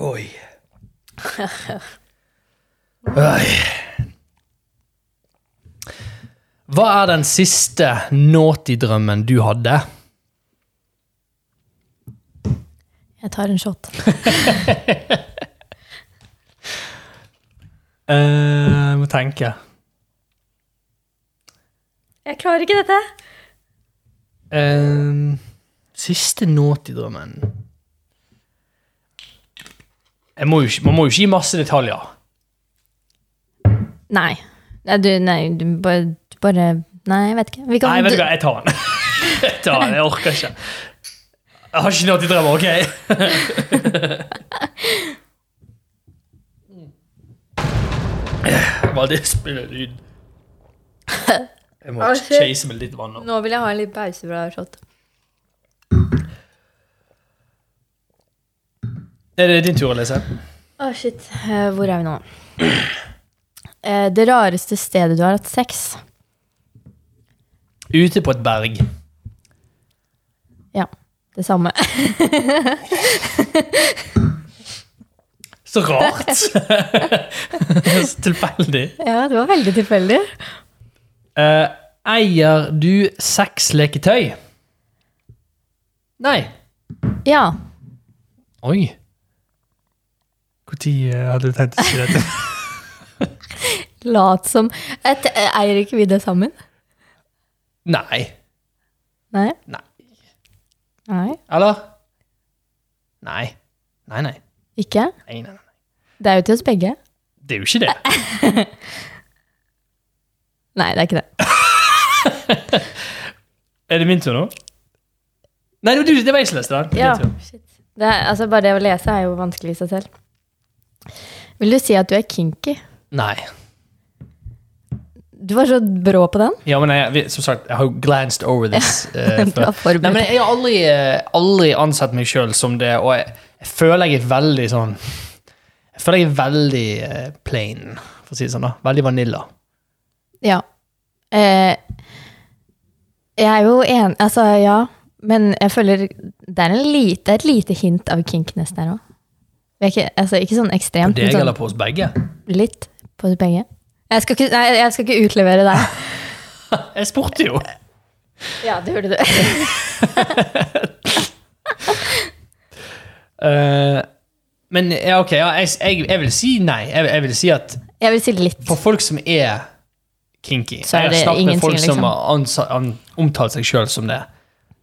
Speaker 1: Oi. Oi. Hva er den siste naughty-drømmen du hadde?
Speaker 2: Jeg tar en shot.
Speaker 1: Eh, Jeg må tenke.
Speaker 2: Jeg klarer ikke dette.
Speaker 1: Ehm, siste naughty-drømmen Jeg må jo ikke- Man må jo ikke gi masse detaljer.
Speaker 2: Nei. Nei, du, nei, du bare, du bare Nei, jeg vet ikke. Vi kan,
Speaker 1: Nei, vet du hva, jeg tar den. Jeg tar den, jeg orker ikke. Jeg har ikke noe til drømmer, ok? Bare det spiller lyd. Jeg må
Speaker 2: Å, shit.
Speaker 1: chase med litt vann nå.
Speaker 2: Nå vil jeg ha en litt pause fra shot.
Speaker 1: Er det din tur å lese?
Speaker 2: Å, shit. Eh, Hvor er vi nå? Eh, Det rareste stedet du har hatt sex?
Speaker 1: Ute på et berg.
Speaker 2: Ja. Det samme.
Speaker 1: Så rart. Så tilfeldig.
Speaker 2: Ja, det var veldig tilfeldig.
Speaker 1: Eh, eier du sexleketøy? Nei.
Speaker 2: Ja.
Speaker 1: Oi. Når hadde du tenkt å si dette?
Speaker 2: Lat som Et, eh, Eier ikke vi det sammen?
Speaker 1: Nei.
Speaker 2: Nei?
Speaker 1: Nei.
Speaker 2: Nei.
Speaker 1: Eller? Nei. Nei, nei.
Speaker 2: Ikke?
Speaker 1: nei, nei, nei.
Speaker 2: Det er jo til oss begge.
Speaker 1: Det er jo ikke det.
Speaker 2: Nei, det er ikke det.
Speaker 1: Er det min tur nå? Nei, det var, du, det var jeg som leste den.
Speaker 2: Ja,
Speaker 1: Din tur.
Speaker 2: shit. Det er, altså bare det å lese er jo vanskelig i seg selv. Vil du si at du er kinky?
Speaker 1: Nei.
Speaker 2: Du var så brå på den.
Speaker 1: Ja, men jeg, vi- som sagt, jeg har jo glanced over this. eh,
Speaker 2: Du
Speaker 1: før.
Speaker 2: var forberedt.
Speaker 1: Nei, men jeg har aldri, eh, aldri ansett meg sjøl som det, og jeg, jeg føler jeg er veldig sånn Jeg føler jeg er veldig eh, plain, for å si det sånn. da. Veldig vanilla.
Speaker 2: Ja. Eh, jeg er jo enig Altså, ja. Men jeg føler det er, en lite, et lite hint av kinkiness der òg. Ikke, altså, ikke sånn
Speaker 1: På
Speaker 2: ekstremt, men
Speaker 1: deg eller
Speaker 2: sånn
Speaker 1: på oss begge?
Speaker 2: litt på begge. Jeg skal ikke, nei, jeg skal ikke utlevere deg.
Speaker 1: Jeg spurte jo!
Speaker 2: Ja, det hørte du.
Speaker 1: Eh, men ja, ok, ja, jeg, jeg, jeg vil si nei. Jeg, jeg vil si at
Speaker 2: Jeg vil si litt.
Speaker 1: for folk som er kinky
Speaker 2: Så
Speaker 1: Jeg
Speaker 2: er
Speaker 1: har
Speaker 2: det
Speaker 1: snakket med
Speaker 2: ingenting,
Speaker 1: folk som
Speaker 2: liksom.
Speaker 1: har ansa, an, omtalt seg sjøl som det.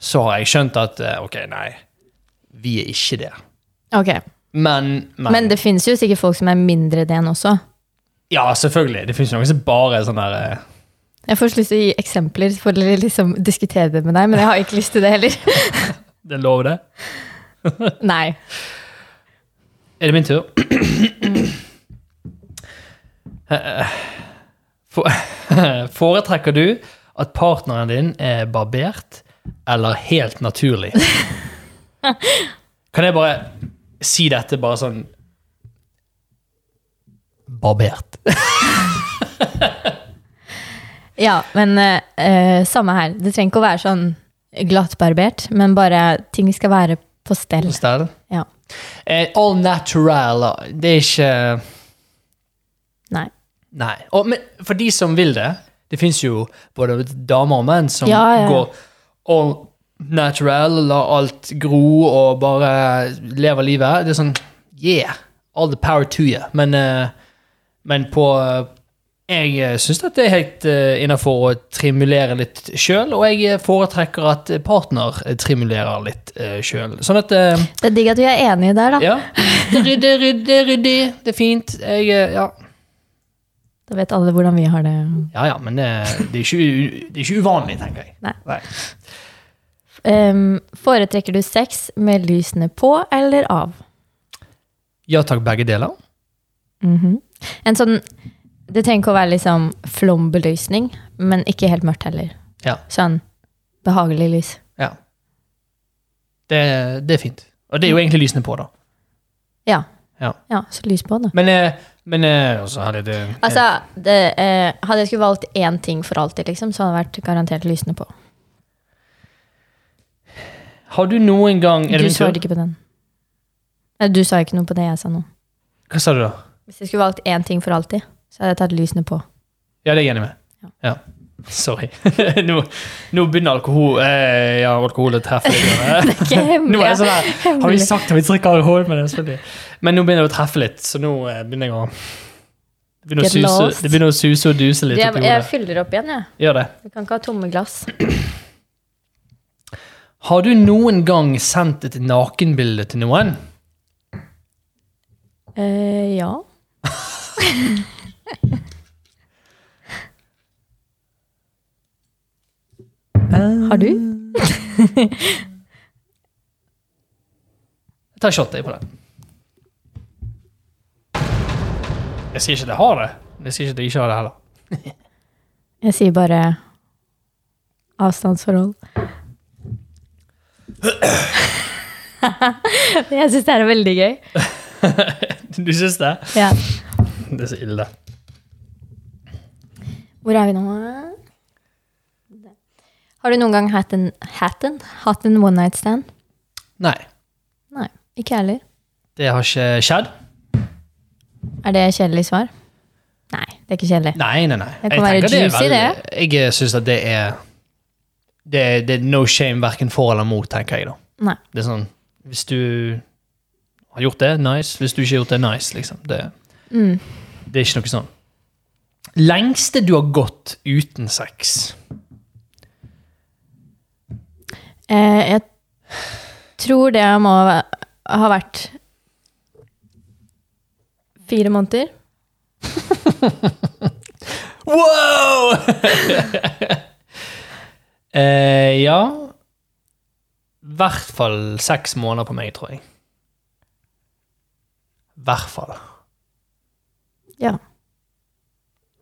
Speaker 1: Så har jeg skjønt at eh, ok, nei, vi er ikke det.
Speaker 2: Ok.
Speaker 1: Men, men,
Speaker 2: Men det finnes jo sikkert folk som er mindre det enn også.
Speaker 1: Ja, selvfølgelig. Det fins noen som bare er sånn der eh,
Speaker 2: Jeg får så lyst til å gi eksempler for å liksom diskutere det med deg, men jeg har ikke lyst til det heller.
Speaker 1: Det er lov, det.
Speaker 2: Nei.
Speaker 1: Er det min tur? Eh, for- Foretrekker du at partneren din er barbert eller helt naturlig? Kan jeg bare si dette bare sånn Barbert.
Speaker 2: Ja, men eh, eh, samme her. Det trenger ikke å være sånn glattbarbert, men bare ting skal være på stell.
Speaker 1: Stell.
Speaker 2: Ja.
Speaker 1: Eh, all natural. Det er ikke
Speaker 2: Nei.
Speaker 1: Nei. Og, men for de som vil det, det fins jo både damer og menn som
Speaker 2: Ja, ja, ja.
Speaker 1: går all natural, lar alt gro og bare lever livet. Det er sånn yeah, all the power to you. Men, eh, men på eh, Jeg syns at det er helt uh, innafor å trimulere litt sjøl, og jeg eh, foretrekker at partner eh, trimulerer litt uh, sjøl. Sånn at eh,
Speaker 2: Det er digg at vi er enige der, da.
Speaker 1: Ja. Rydde, rydde, rydde. Det er fint. Jeg, eh, ja.
Speaker 2: Da vet alle hvordan vi har det.
Speaker 1: Ja, ja, men det, det, er ikke, u- det er ikke uvanlig, tenker jeg.
Speaker 2: Nei. Ehm, foretrekker du sex med lysene på eller av?
Speaker 1: Ja takk, begge deler.
Speaker 2: Mhm. En sånn Det trenger ikke å være liksom flombelysning, men ikke helt mørkt heller.
Speaker 1: Ja.
Speaker 2: Sånn behagelig lys.
Speaker 1: Ja. Det, det er fint. Og det er jo egentlig lysene på, da.
Speaker 2: Ja.
Speaker 1: Ja.
Speaker 2: så lys på, da.
Speaker 1: Men, eh, men eh, også hadde det
Speaker 2: Altså, det, eh, Hadde jeg skulle valgt én ting for alltid, liksom, så hadde det vært garantert lysene på.
Speaker 1: Har du noen gang Er det
Speaker 2: Du
Speaker 1: min tur?
Speaker 2: svarte ikke på den. Nei, du sa ikke noe på det jeg sa nå.
Speaker 1: Hva sa du, da?
Speaker 2: Hvis jeg skulle valgt én ting for alltid, så hadde jeg tatt lysene på.
Speaker 1: Ja, det er jeg enig med.
Speaker 2: Ja.
Speaker 1: Ja. Sorry. nå, nå begynner alkohol eh, Ja, alkoholet treffer litt.
Speaker 2: Ikke
Speaker 1: Nå
Speaker 2: hemmelig.
Speaker 1: er jeg sånn her, Har vi sagt at vi drikker alkohol? Men, det, er selvfølgelig- men nå begynner det å treffe litt, så nå eh, begynner jeg å det begynner å,
Speaker 2: Get
Speaker 1: suse,
Speaker 2: lost.
Speaker 1: det begynner å suse og duse litt.
Speaker 2: jeg,
Speaker 1: oppi
Speaker 2: jeg
Speaker 1: hodet.
Speaker 2: fyller opp igjen, jeg.
Speaker 1: Gjør det.
Speaker 2: Vi kan ikke ha tomme glass.
Speaker 1: Har du noen gang sendt et nakenbilde til noen?
Speaker 2: Eh, ja. Har du?
Speaker 1: Jeg tar shot jeg, på det. Jeg sier ikke at jeg har det. men Jeg sier ikke at jeg ikke har det heller.
Speaker 2: Jeg sier bare avstandsforhold. jeg syns det her er veldig gøy.
Speaker 1: Du syns det?
Speaker 2: Ja.
Speaker 1: Det er så ille.
Speaker 2: Hvor er vi nå? Har du noen gang hatt en, hatt en, hatt en one night stand?
Speaker 1: Nei,
Speaker 2: Nei, ikke jeg heller.
Speaker 1: det har ikke skjedd.
Speaker 2: Er det kjedelig svar? Nei, det er ikke kjedelig.
Speaker 1: Nei, nei, nei.
Speaker 2: Det kan være
Speaker 1: tenker
Speaker 2: juicy,
Speaker 1: det. Jeg syns at det er det, er- det er no shame verken for eller mot, tenker jeg da.
Speaker 2: Nei.
Speaker 1: Det er sånn Hvis du har gjort det, nice. Hvis du ikke har gjort det, nice, liksom. Det,
Speaker 2: Mm.
Speaker 1: Det er ikke noe sånn. Lengste du har gått uten sex?
Speaker 2: Eh, jeg tror det må ha vært fire måneder.
Speaker 1: Wow! eh, ja I hvert fall seks måneder på meg, tror jeg. I hvert fall.
Speaker 2: Ja.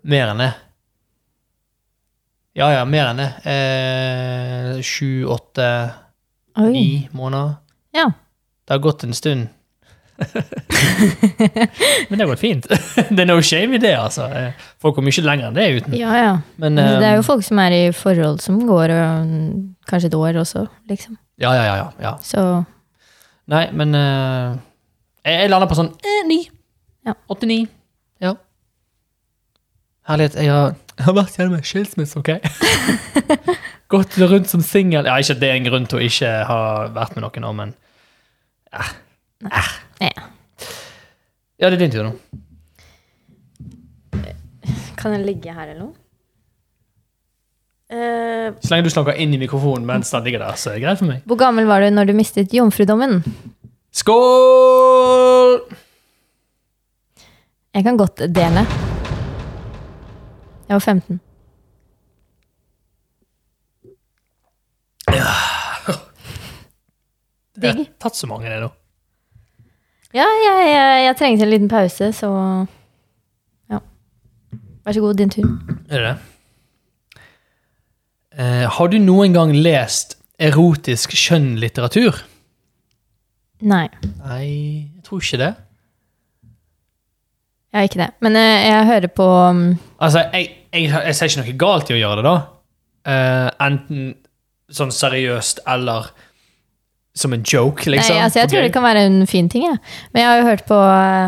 Speaker 1: Mer enn det. Ja, ja, mer enn det. Eh, Sju, åtte,
Speaker 2: Oi.
Speaker 1: ni måneder.
Speaker 2: Ja.
Speaker 1: Det har gått en stund. Men det har gått fint. det er no shame i det, altså. Eh, Folk kommer ikke lenger enn det uten.
Speaker 2: ja, ja.
Speaker 1: Men,
Speaker 2: Det er
Speaker 1: eh,
Speaker 2: jo folk som er i forhold som går øhm, kanskje et år også, liksom.
Speaker 1: ja, ja, ja, ja, ja.
Speaker 2: Så
Speaker 1: Nei, men eh, jeg, jeg lander på sånn eh, ni.
Speaker 2: Ja.
Speaker 1: Åtte-ni. Ja. Herlighet, jeg har, jeg har vært gjennom en skilsmisse, OK? Gått rundt som singel Ja, ikke at det er en grunn til å ikke ha vært med noen, nå, men eh.
Speaker 2: Nei.
Speaker 1: Eh. Ja, det er din tur nå.
Speaker 2: Kan jeg ligge her eller noe? Eh,
Speaker 1: Så lenge du snakker inn i mikrofonen mens den ligger der, så er det greit for meg.
Speaker 2: hvor gammel var du når du mistet jomfrudommen?
Speaker 1: Skål!
Speaker 2: Jeg kan godt dele. Jeg var 15.
Speaker 1: Jeg har
Speaker 2: Digg.
Speaker 1: tatt så mange, det nå.
Speaker 2: Ja, jeg, jeg, jeg trengte en liten pause, så ja. Vær så god, din tur.
Speaker 1: Er det det? Eh, har du noen gang lest erotisk skjønnlitteratur?
Speaker 2: Nei,
Speaker 1: Nei, jeg tror ikke det.
Speaker 2: jeg har ikke det. Men eh, jeg hører på mm,
Speaker 1: Altså, jeg, jeg, jeg ser ikke noe galt i å gjøre det, da. Eh, enten sånn seriøst eller som en joke, liksom.
Speaker 2: Nei, altså, jeg
Speaker 1: for
Speaker 2: tror
Speaker 1: gøy.
Speaker 2: det kan være en fin ting, jeg. Men jeg har jo hørt på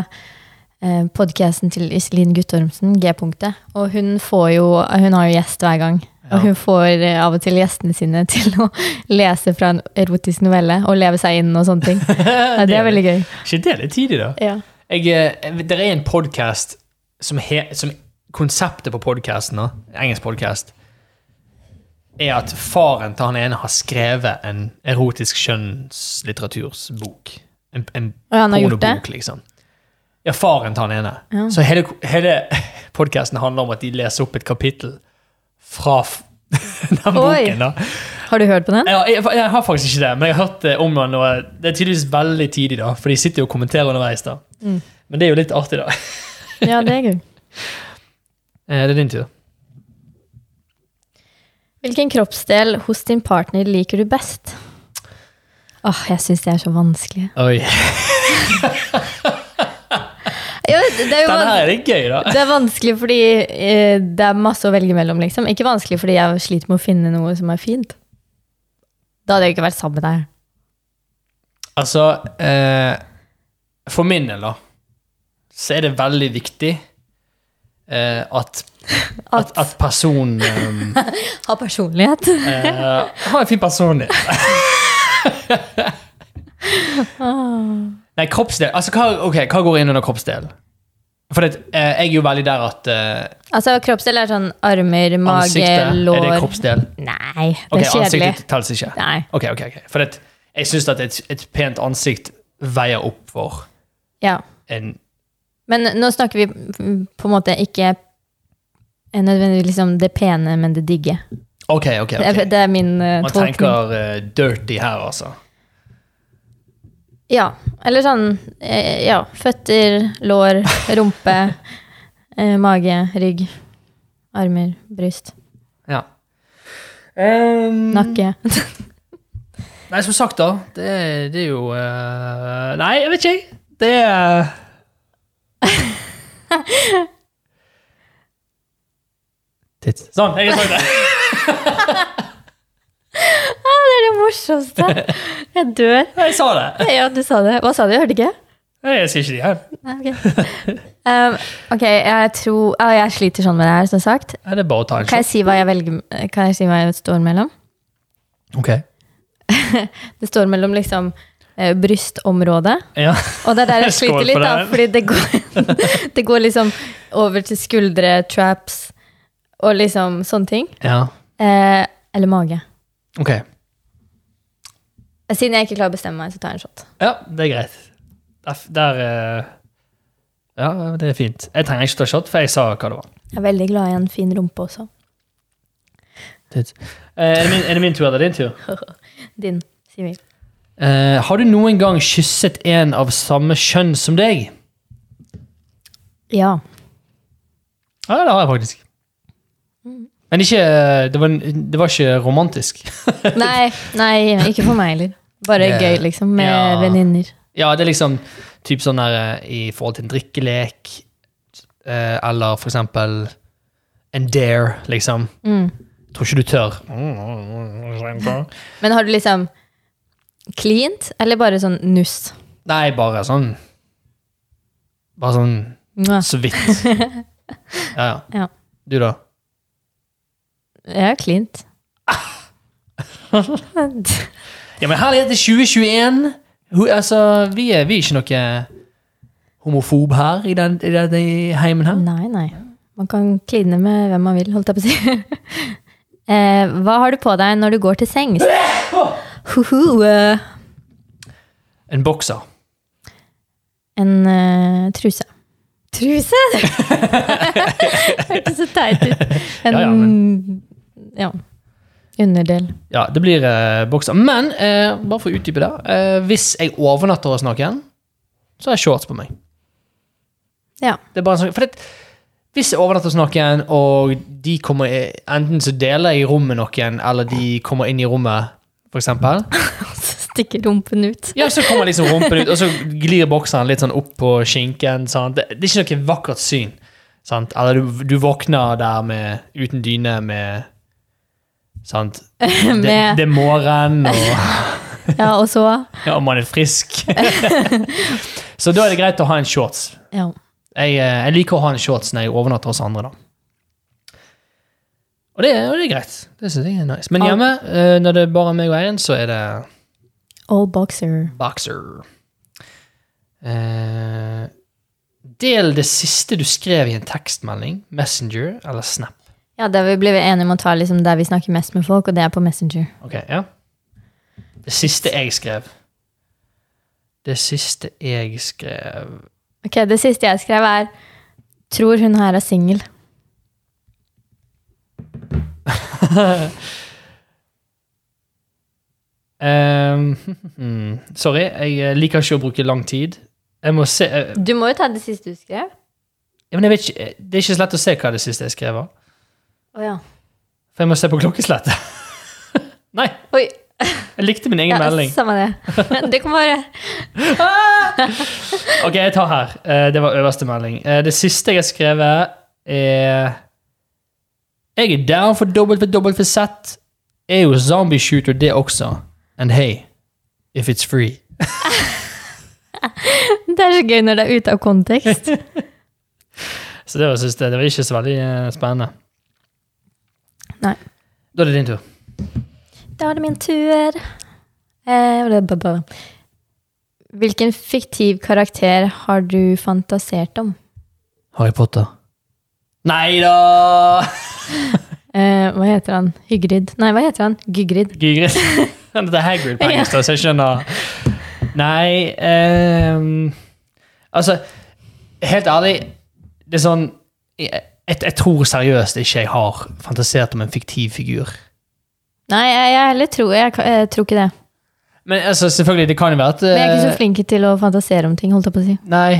Speaker 2: eh, podcasten til Iselin Guttormsen, G-punktet, og hun får jo Hun har jo gjest hver gang.
Speaker 1: Ja.
Speaker 2: Og hun får eh, av og til gjestene sine til å lese fra en erotisk novelle og leve seg inn og sånne ting. Ja, det er veldig gøy.
Speaker 1: Ikke det litt tidlig, da?
Speaker 2: Ja.
Speaker 1: Jeg, eh, det er en podkast som, he- som Konseptet på podkasten, engelsk podkast, er at faren til han ene har skrevet en erotisk skjønnslitteratursbok. En, en
Speaker 2: Og han har gjort det?
Speaker 1: pornobok, liksom. Ja, faren til han ene.
Speaker 2: Ja.
Speaker 1: Så hele, hele podkasten handler om at de leser opp et kapittel fra f- den
Speaker 2: Oi.
Speaker 1: boken. da.
Speaker 2: Har du hørt på den?
Speaker 1: Ja, jeg, jeg har faktisk ikke det, men jeg har hørt det om han, og det er tydeligvis veldig tidlig, da, for de sitter jo og kommenterer underveis. da. Men det er jo litt artig, da.
Speaker 2: Ja, det er gøy.
Speaker 1: Eh, det er din tur.
Speaker 2: Hvilken kroppsdel hos din partner liker du best? Åh, jeg syns det er så vanskelig.
Speaker 1: Oi.
Speaker 2: Ja, det det er jo
Speaker 1: Den
Speaker 2: vanskelig.
Speaker 1: her er litt gøy, da.
Speaker 2: Det er vanskelig fordi eh, det er masse å velge mellom, liksom. Ikke vanskelig fordi jeg sliter med å finne noe som er fint. Da hadde jeg ikke vært sammen med deg.
Speaker 1: Altså, eh, for min del, da, så er det veldig viktig eh, at, at,
Speaker 2: At
Speaker 1: at personen eh,
Speaker 2: ha personlighet.
Speaker 1: eh, har en fin personlighet. Nei, kroppsdel. Altså, hva, ok, hva går inn under kroppsdel? For det, eh, jeg er jo veldig der at eh,
Speaker 2: Altså, kroppsdel er sånn armer, mage,
Speaker 1: ansiktet
Speaker 2: lår
Speaker 1: Er det kroppsdel?
Speaker 2: Nei, det
Speaker 1: Ok,
Speaker 2: er kjedelig.
Speaker 1: ansiktet telles ikke.
Speaker 2: Nei.
Speaker 1: Ok, ok, ok. For det, jeg syns at et, et pent ansikt veier opp for
Speaker 2: Ja.
Speaker 1: en
Speaker 2: Men nå snakker vi mm, på en måte ikke nødvendigvis liksom det pene, men det digge.
Speaker 1: Ok, ok.
Speaker 2: Det,
Speaker 1: ok.
Speaker 2: er, det er min eh,
Speaker 1: Man
Speaker 2: tolkning.
Speaker 1: tenker eh, dirty her, altså.
Speaker 2: Ja. Eller sånn eh, Ja. Føtter, lår, rumpe, eh, mage, rygg, armer, bryst,
Speaker 1: Ja. Um,
Speaker 2: nakke.
Speaker 1: Nei, som sagt, da. Det, er- det er jo eh, Nei, jeg vet ikke, jeg. Det er Tits. Sånn, jeg har sagt det.
Speaker 2: Det er det morsomste! Jeg dør.
Speaker 1: Jeg sa det.
Speaker 2: Ja, du sa det. Hva sa du? Jeg hørte ikke.
Speaker 1: Nei, Jeg sier ikke det igjen.
Speaker 2: Nei, ok. Um, ok, jeg tror ah, Jeg sliter sånn med det her, som sagt.
Speaker 1: Nei, Det er bare å ta en shot.
Speaker 2: Kan jeg si hva jeg velger Kan jeg si hva jeg står mellom?
Speaker 1: Ok.
Speaker 2: Det står mellom liksom eh, brystområdet
Speaker 1: Ja.
Speaker 2: Og det er der jeg sliter
Speaker 1: Skål
Speaker 2: litt,
Speaker 1: for
Speaker 2: da,
Speaker 1: det.
Speaker 2: fordi det går, det går liksom over til skuldre, traps og liksom sånne ting.
Speaker 1: ja.
Speaker 2: Eh, eller mage. Eh,
Speaker 1: Ok.
Speaker 2: Siden jeg ikke klarer å bestemme meg, så tar jeg en shot.
Speaker 1: Ja, det er greit. Der, der eh, Ja, det er fint. Jeg trenger ikke ta shot, for jeg sa hva det var.
Speaker 2: Jeg er veldig glad i en fin rumpe også.
Speaker 1: Tits. Eh, Er det min, er det min tur eller din tur?
Speaker 2: Din, Sivil.
Speaker 1: Eh, har du noen gang kysset en av samme kjønn som deg?
Speaker 2: Ja.
Speaker 1: Ja, det har jeg faktisk. Men ikke, eh, det, var, det var ikke romantisk.
Speaker 2: Nei, nei, ikke for meg heller. Bare
Speaker 1: Det-
Speaker 2: gøy, liksom, med
Speaker 1: ja.
Speaker 2: venninner.
Speaker 1: Ja, det er liksom typ sånn der eh, i forhold til en drikkelek, eh, eller for eksempel en dare, liksom.
Speaker 2: Mm.
Speaker 1: Jeg tror ikke du tør.
Speaker 2: Men har du liksom cleant, eller bare sånn nuss?
Speaker 1: Nei, bare sånn Bare sånn
Speaker 2: Mwah.
Speaker 1: så vidt. Ja, ja.
Speaker 2: Ah. Ja.
Speaker 1: Du, da?
Speaker 2: Jeg har klint.
Speaker 1: Ja, men herlighet, det er 2021! Ho, altså, vi er, vi er ikke noe homofob her i den, i den i heimen her.
Speaker 2: Nei, nei. Man kan kline med hvem man vil, holdt jeg på å si. eh, hva har du på deg når du går til sengs? Hoho, eh,
Speaker 1: En bokser.
Speaker 2: en eh, truse. Truse? det hørtes så teit ut. En
Speaker 1: Ja,
Speaker 2: ja,
Speaker 1: ja,
Speaker 2: underdel.
Speaker 1: Ja, det blir eh, bokser. Men eh, bare for å utdype det. Eh, hvis jeg overnatter hos noen, så har jeg shorts på meg.
Speaker 2: Ja.
Speaker 1: Det er bare en sånn, for det, hvis jeg overnatter hos noen, og de kommer i- enten så deler jeg rom med noen, eller de kommer inn i rommet, for eksempel,
Speaker 2: Så stikker rumpen ut.
Speaker 1: ja, så kommer liksom rumpen ut, og så glir bokseren litt sånn opp på skinken. Sant? Det, det er ikke noe vakkert syn. Sant? Eller du, du våkner der med, uten dyne med Sant? Det,
Speaker 2: Med-
Speaker 1: det er morgen, og
Speaker 2: Ja, og så
Speaker 1: ja, om man er frisk. så da er det greit å ha en shorts.
Speaker 2: ja.
Speaker 1: Jeg, eh, jeg liker å ha en shorts når jeg overnatter hos andre, da. Og det, er- og det er greit. Det synes jeg er nice. Men hjemme, eh, når det er bare meg og Eirin, så er det
Speaker 2: All boxer.
Speaker 1: boxer. Eh, del det siste du skrev i en tekstmelding, Messenger eller Snap.
Speaker 2: Ja, der vi ble enige om å ta liksom der vi snakker mest med folk, og det er på Messenger.
Speaker 1: Ok, ja. Det siste jeg skrev. Det siste jeg skrev
Speaker 2: Ok, Det siste jeg skrev, er 'Tror hun her er singel'.
Speaker 1: Ehm, hmm, Sorry, jeg eh, liker ikke å bruke lang tid. Jeg må se eh,
Speaker 2: Du må jo ta det siste du skrev.
Speaker 1: ja, men jeg vet ikke, eh, Det er ikke så lett å se hva det siste jeg skrev var.
Speaker 2: Å ja.
Speaker 1: For jeg må se på klokkeslettet. Nei,
Speaker 2: Oi.
Speaker 1: jeg likte min egen
Speaker 2: Ja,
Speaker 1: melding. Ah!
Speaker 2: samme det. Det kan være
Speaker 1: Ok, jeg tar her. Eh, Det var øverste melding. Eh, Det siste jeg har skrevet, er Jeg er down for WWZ. Er jo zombie shooter, det også. And hey, if it's free.
Speaker 2: Det er så gøy når det er ute av kontekst.
Speaker 1: Så det var, synes jeg, det var ikke så veldig eh, spennende.
Speaker 2: Nei.
Speaker 1: Da er det din tur.
Speaker 2: Da er det min tur. Eh, bla, bla, bla. Hvilken fiktiv karakter har du fantasert om?
Speaker 1: Harry Potter. Nei da!
Speaker 2: Eh, hva heter han? Hygrid? Nei, hva heter han? Gygrid.
Speaker 1: Gygrid. Det er Hagrid på engelsk, da, så jeg skjønner Nei ehm, Altså, helt ærlig, det er sånn jeg, jeg, jeg tror seriøst ikke jeg har fantasert om en fiktiv figur.
Speaker 2: Nei, jeg, jeg heller tror, jeg, kan- jeg tror ikke det.
Speaker 1: Men altså, selvfølgelig, det kan jo være at
Speaker 2: Men jeg er ikke
Speaker 1: eh,
Speaker 2: så flink til å fantasere om ting, holdt jeg på å si.
Speaker 1: Nei.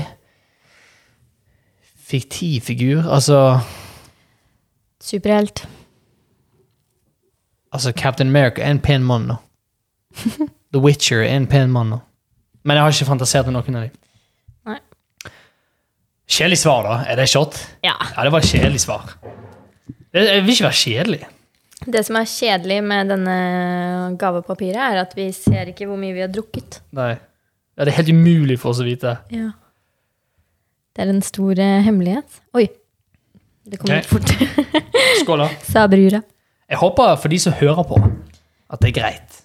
Speaker 1: Fiktiv figur? Altså,
Speaker 2: Superhelt.
Speaker 1: altså Captain America er en pen mann nå. The Witcher er en pen mann nå. Men jeg har ikke fantasert om noen av dem.
Speaker 2: Nei.
Speaker 1: Kjedelig svar, da. Er det shot?
Speaker 2: Ja.
Speaker 1: Ja, det var et kjedelig svar. Det, jeg vil ikke være kjedelig.
Speaker 2: Det som er kjedelig med denne gavepapiret, er at vi ser ikke hvor mye vi har drukket.
Speaker 1: Nei. Ja, det er helt umulig for oss å vite.
Speaker 2: Det er en stor eh, hemmelighet. Oi. Det kom
Speaker 1: Ok.
Speaker 2: litt fort.
Speaker 1: Skål, da.
Speaker 2: Sa brura.
Speaker 1: Jeg håper for de som hører på, at det er greit.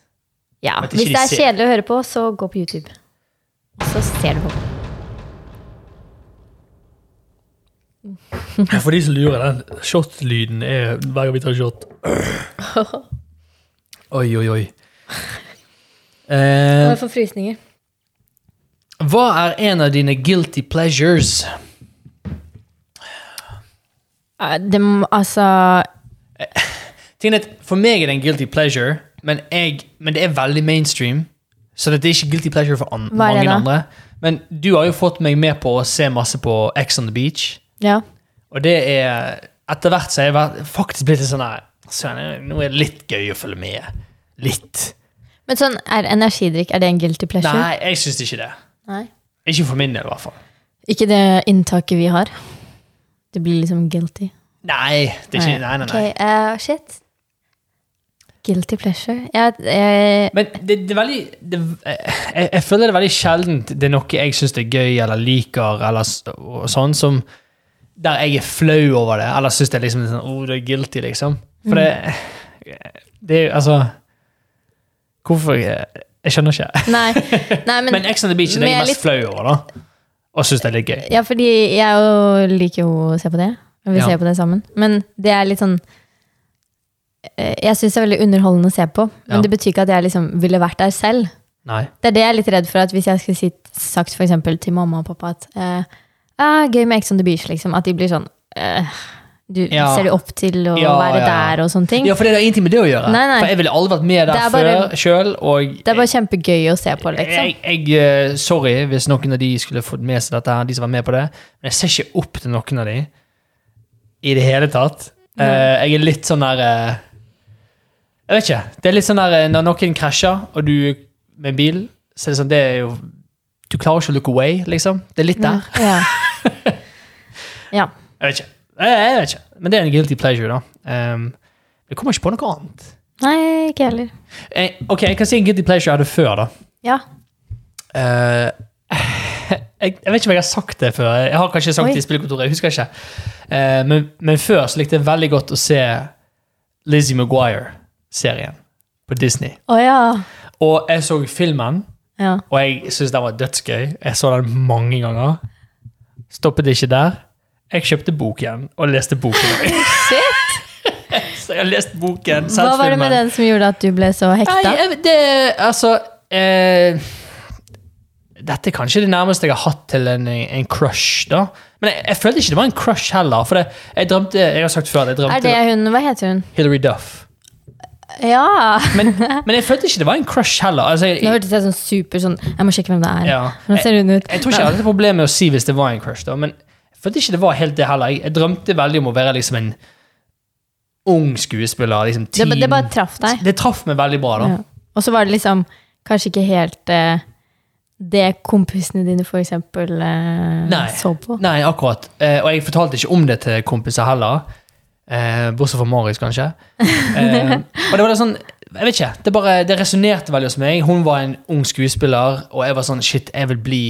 Speaker 2: Ja,
Speaker 1: At ikke
Speaker 2: hvis
Speaker 1: de
Speaker 2: det er
Speaker 1: ser.
Speaker 2: kjedelig å høre på, så gå på YouTube. Så ser du på.
Speaker 1: For de som lurer, den shot-lyden er hver gang vi tar shot. Oi, oi, oi. Eh,
Speaker 2: Jeg får frysninger.
Speaker 1: hva er en av dine guilty pleasures?
Speaker 2: Det må altså
Speaker 1: Tingen er at For meg er det en guilty pleasure, men, jeg, men det er veldig mainstream. Så det er ikke guilty pleasure for an
Speaker 2: Hva er det
Speaker 1: mange
Speaker 2: da?
Speaker 1: andre. Men du har jo fått meg med på å se masse på X on the Beach.
Speaker 2: Ja.
Speaker 1: Og det er Etter hvert så har jeg vært- faktisk blitt litt sånn her Søren, nå er det litt gøy å følge med. Litt.
Speaker 2: Men sånn, er energidrikk er det en guilty pleasure?
Speaker 1: Nei, jeg syns ikke det.
Speaker 2: Nei.
Speaker 1: Ikke for min del, i hvert fall.
Speaker 2: Ikke det inntaket vi har. Det blir liksom guilty.
Speaker 1: Nei, det er ikke, nei, nei, nei.
Speaker 2: Ok, eh, shit. Guilty pleasure. eh, Jeg, jeg,
Speaker 1: Men det, det er veldig det, jeg, jeg føler det er veldig sjeldent det er noe jeg syns er gøy eller liker, eller s- og sånn, som der jeg er flau over det, eller syns det er liksom litt sånn, oh, det er guilty, liksom. For det, det er jo altså Hvorfor Jeg, jeg skjønner ikke.
Speaker 2: Nei, nei men,
Speaker 1: Men Ex on the Beach er det jeg
Speaker 2: men
Speaker 1: er
Speaker 2: jeg
Speaker 1: mest flau over, da. Og syns det er litt gøy.
Speaker 2: Ja, fordi jeg jo liker jo å se på det. og Vi
Speaker 1: Ja.
Speaker 2: ser på det sammen. Men det er litt sånn eh, Jeg syns det er veldig underholdende å se på, men
Speaker 1: Ja.
Speaker 2: det betyr ikke at jeg liksom ville vært der selv.
Speaker 1: Nei.
Speaker 2: Det er det jeg er litt redd for, at hvis jeg skulle si, sagt for eksempel til mamma og pappa at eh, ah, gøy med Ex on the Beach, liksom, at de blir sånn eh, du,
Speaker 1: Ja.
Speaker 2: Ser du opp til å
Speaker 1: Ja, ja,
Speaker 2: være
Speaker 1: ja.
Speaker 2: der og sånne ting?
Speaker 1: Ja, for det har ingenting med det å gjøre.
Speaker 2: Nei, nei.
Speaker 1: For jeg ville aldri vært med der
Speaker 2: Det er bare-
Speaker 1: før sjøl, og
Speaker 2: Det er bare kjempegøy å se på, liksom.
Speaker 1: Jeg, jeg, eh, sorry hvis noen av de skulle fått med seg dette, her, de som var med på det, men jeg ser ikke opp til noen av de i det hele tatt. Eh, jeg er litt sånn der eh, Jeg vet ikke. Det er litt sånn der eh, når noen krasjer, og du med en bil, så er det sånn Det er jo Du klarer ikke å look away, liksom. Det er litt der.
Speaker 2: Mm, Ja. ja.
Speaker 1: Jeg vet ikke. Jeg, jeg vet ikke. Men det er en guilty pleasure, da. Ehm, jeg kommer ikke på noe annet.
Speaker 2: Nei, ikke heller.
Speaker 1: Eh, ok, jeg kan si en guilty pleasure jeg hadde før, da.
Speaker 2: Ja.
Speaker 1: Eh, jeg, jeg vet ikke om jeg har sagt det før. Jeg har kanskje sagt
Speaker 2: Oi.
Speaker 1: det i spillekontoret. jeg husker ikke. Eh, men, men før så likte jeg veldig godt å se Lizzie Maguire-serien på Disney.
Speaker 2: Å ja.
Speaker 1: Og jeg så filmen,
Speaker 2: ja.
Speaker 1: og jeg syntes den var dødsgøy. Jeg så den mange ganger. Stoppet ikke der. Jeg kjøpte boken og leste boken.
Speaker 2: Shit!
Speaker 1: så jeg har lest boken, sett
Speaker 2: Hva var det med
Speaker 1: filmen.
Speaker 2: den som gjorde at du ble så hekta?
Speaker 1: Nei, jeg- det Altså eh, Dette er kanskje det nærmeste jeg har hatt til en, en crush, da. Men jeg, jeg følte ikke det var en crush heller. For det, jeg drømte Jeg har sagt før at jeg drømte
Speaker 2: Er det hun Hva heter hun?
Speaker 1: Hillary Duff.
Speaker 2: Ja!
Speaker 1: Men, men jeg følte ikke det var en crush heller. Altså, jeg,
Speaker 2: Nå hørtes jeg sånn super sånn Jeg må sjekke hvem det er.
Speaker 1: Ja.
Speaker 2: Hvordan ser hun ut?
Speaker 1: jeg tror ikke jeg hadde et problem med å si hvis det var en crush, da. Men jeg følte ikke det var helt det heller. Jeg, jeg drømte veldig om å være liksom en ung skuespiller. Liksom
Speaker 2: Det,
Speaker 1: teen.
Speaker 2: det bare traff deg.
Speaker 1: det traff meg veldig bra, da.
Speaker 2: Ja. Og så var det liksom kanskje ikke helt eh, det kompisene dine for eksempel eh,
Speaker 1: Nei.
Speaker 2: så på.
Speaker 1: Nei, akkurat. Eh, og jeg fortalte ikke om det til kompiser heller. Eh, bortsett fra Marius, kanskje. Eh, og det var da sånn Jeg vet ikke. Det, bare, det resonnerte veldig hos meg. Hun var en ung skuespiller, og jeg var sånn Shit, jeg vil bli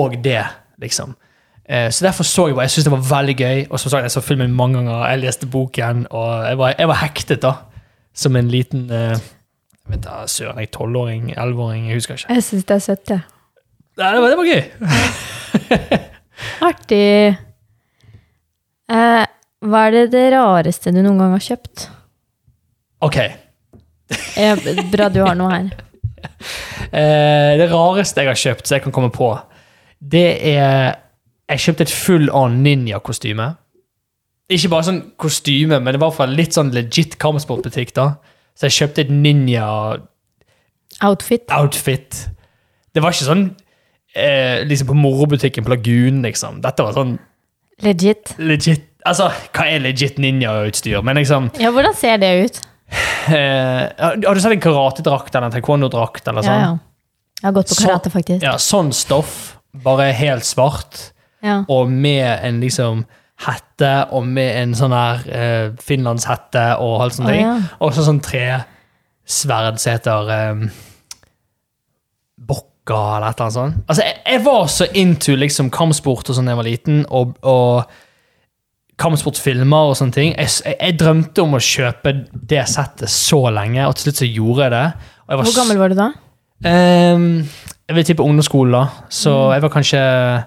Speaker 1: og det, liksom. Eh, så derfor så jeg bare, jeg syntes det var veldig gøy. Og som sagt, jeg så filmen mange ganger, jeg leste boken, og jeg var, jeg var hektet, da. Som en liten eh, jeg vet da, Søren, jeg er tolvåring, elleveåring, jeg husker ikke.
Speaker 2: Jeg syns det er søtt, jeg.
Speaker 1: Nei, det, var, det var gøy.
Speaker 2: Artig. Eh, hva er det, det rareste du noen gang har kjøpt?
Speaker 1: Ok.
Speaker 2: Eh, bra du har noe her.
Speaker 1: Eh, det rareste jeg har kjøpt, så jeg kan komme på, det er Jeg kjøpte et full on ninja-kostyme. Ikke bare sånn kostyme, men det var fra en litt sånn legit kampsportbutikk. da. Så jeg kjøpte et ninja-outfit.
Speaker 2: Outfit.
Speaker 1: Det var ikke sånn eh, liksom på morobutikken på Lagunen, liksom. Dette var sånn
Speaker 2: Legit.
Speaker 1: legit Altså, hva er legit ninja-utstyr? Men liksom
Speaker 2: Ja, hvordan ser det ut?
Speaker 1: eh, Har du sett en karatedrakt eller en taekwondo-drakt? eller
Speaker 2: Ja,
Speaker 1: sånn?
Speaker 2: ja. Jeg har gått på
Speaker 1: Så-
Speaker 2: karate, faktisk.
Speaker 1: ja, sånn stoff, bare helt svart.
Speaker 2: Ja.
Speaker 1: og med en liksom hette, og med en sånn her eh, finlandshette og alt sånt.
Speaker 2: Å,
Speaker 1: ting.
Speaker 2: ja.
Speaker 1: Og så sånn tre sverd som heter eh, Bokka, eller et eller annet sånt. Altså, jeg, jeg var så into liksom kampsport og sånn da jeg var liten, og, og kampsportfilmer og sånne ting. Jeg, s- jeg, jeg drømte om å kjøpe det settet så lenge, og til slutt så gjorde jeg det. Og jeg var
Speaker 2: Hvor gammel var du da?
Speaker 1: Ehm, jeg vil tippe ungdomsskole, da. Så
Speaker 2: Mm.
Speaker 1: jeg var kanskje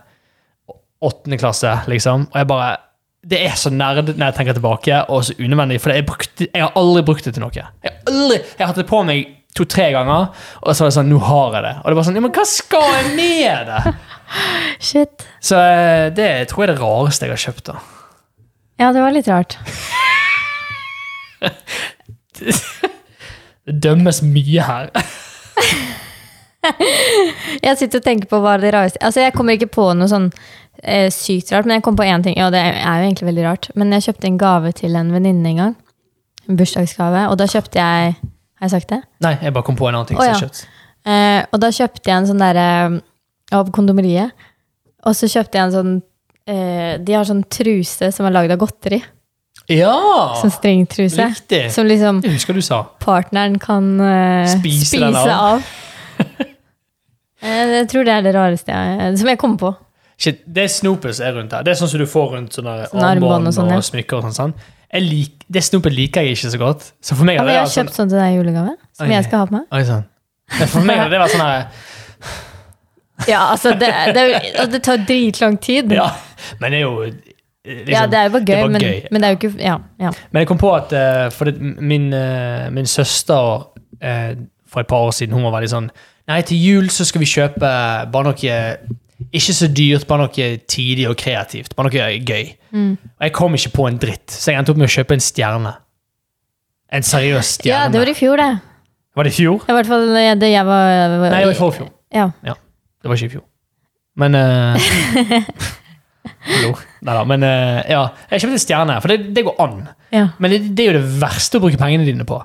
Speaker 1: åttende klasse, liksom. Og jeg bare Det er så nerd når jeg tenker tilbake, og så unødvendig. For jeg, brukte, jeg har aldri brukt det til noe. Jeg har aldri, jeg har hatt det på meg to-tre ganger, og så var det sånn Nå har jeg det. Og det var sånn Ja, men hva skal jeg med det?
Speaker 2: Shit.
Speaker 1: Så eh, det tror jeg er det rareste jeg har kjøpt, da.
Speaker 2: Ja, det var litt rart.
Speaker 1: Det dømmes mye her.
Speaker 2: Jeg sitter og tenker på hva er det rareste Altså, jeg kommer ikke på noe sånn eh, sykt rart, men jeg kom på én ting. Ja, det er jo egentlig veldig rart, men jeg kjøpte en gave til en venninne en gang. En bursdagsgave. Og da kjøpte jeg Har jeg sagt det?
Speaker 1: Nei, jeg bare kom på en annen ting
Speaker 2: Å,
Speaker 1: som jeg
Speaker 2: ja.
Speaker 1: har kjøpt.
Speaker 2: Eh, og da kjøpte jeg en sånn derre Jeg var på kondomeriet, og så kjøpte jeg en sånn eh, De har sånn truse som er lagd av godteri.
Speaker 1: Ja!
Speaker 2: Sånn strengtruse.
Speaker 1: Riktig.
Speaker 2: Som liksom
Speaker 1: Jeg husker du sa.
Speaker 2: partneren kan eh,
Speaker 1: Spise
Speaker 2: spise,
Speaker 1: den av.
Speaker 2: av. Eh, jeg tror det er det rareste jeg, eh, som jeg kom på.
Speaker 1: Shit, det snopet som er rundt her, det er sånn som du får rundt sånne
Speaker 2: Sånn armbånd
Speaker 1: armbånd
Speaker 2: og
Speaker 1: og,
Speaker 2: sånn, ja.
Speaker 1: smykker. og sånn, sånn. Jeg lik, Det snopet liker jeg ikke så godt. Så for meg
Speaker 2: Ja,
Speaker 1: har
Speaker 2: men
Speaker 1: det
Speaker 2: jeg har
Speaker 1: vært sånn
Speaker 2: kjøpt sånn til deg i julegave, som
Speaker 1: Oi.
Speaker 2: jeg skal ha på meg.
Speaker 1: Oi sann. Men For meg har det vært sånn her
Speaker 2: Ja, altså, det, det, og det tar dritlang tid.
Speaker 1: Ja, men det er jo eh, liksom,
Speaker 2: ja, det er jo bare
Speaker 1: det er
Speaker 2: gøy,
Speaker 1: bare
Speaker 2: men,
Speaker 1: gøy.
Speaker 2: men det er jo ikke Ja. ja.
Speaker 1: Men jeg kom på at eh, for det, min, eh, min søster eh, for et par år siden hun var veldig sånn Nei, til jul så skal vi kjøpe bare noe eh, ikke så dyrt, bare noe tidig og kreativt. Bare noe gøy.
Speaker 2: Mm.
Speaker 1: Og jeg kom ikke på en dritt, så jeg endte opp med å kjøpe en stjerne. En seriøs
Speaker 2: ja,
Speaker 1: stjerne.
Speaker 2: det var i fjor, det.
Speaker 1: var det i fjor?
Speaker 2: Det var i hvert fall eh, det jeg var
Speaker 1: Nei, det var i forfjor.
Speaker 2: Ja.
Speaker 1: Det var ikke i fjor. Men eh, Lo. Neida, Men eh, ja, jeg kjøpte en stjerne, for det, det går an.
Speaker 2: Ja,
Speaker 1: Men det, det er jo det verste å bruke pengene dine på.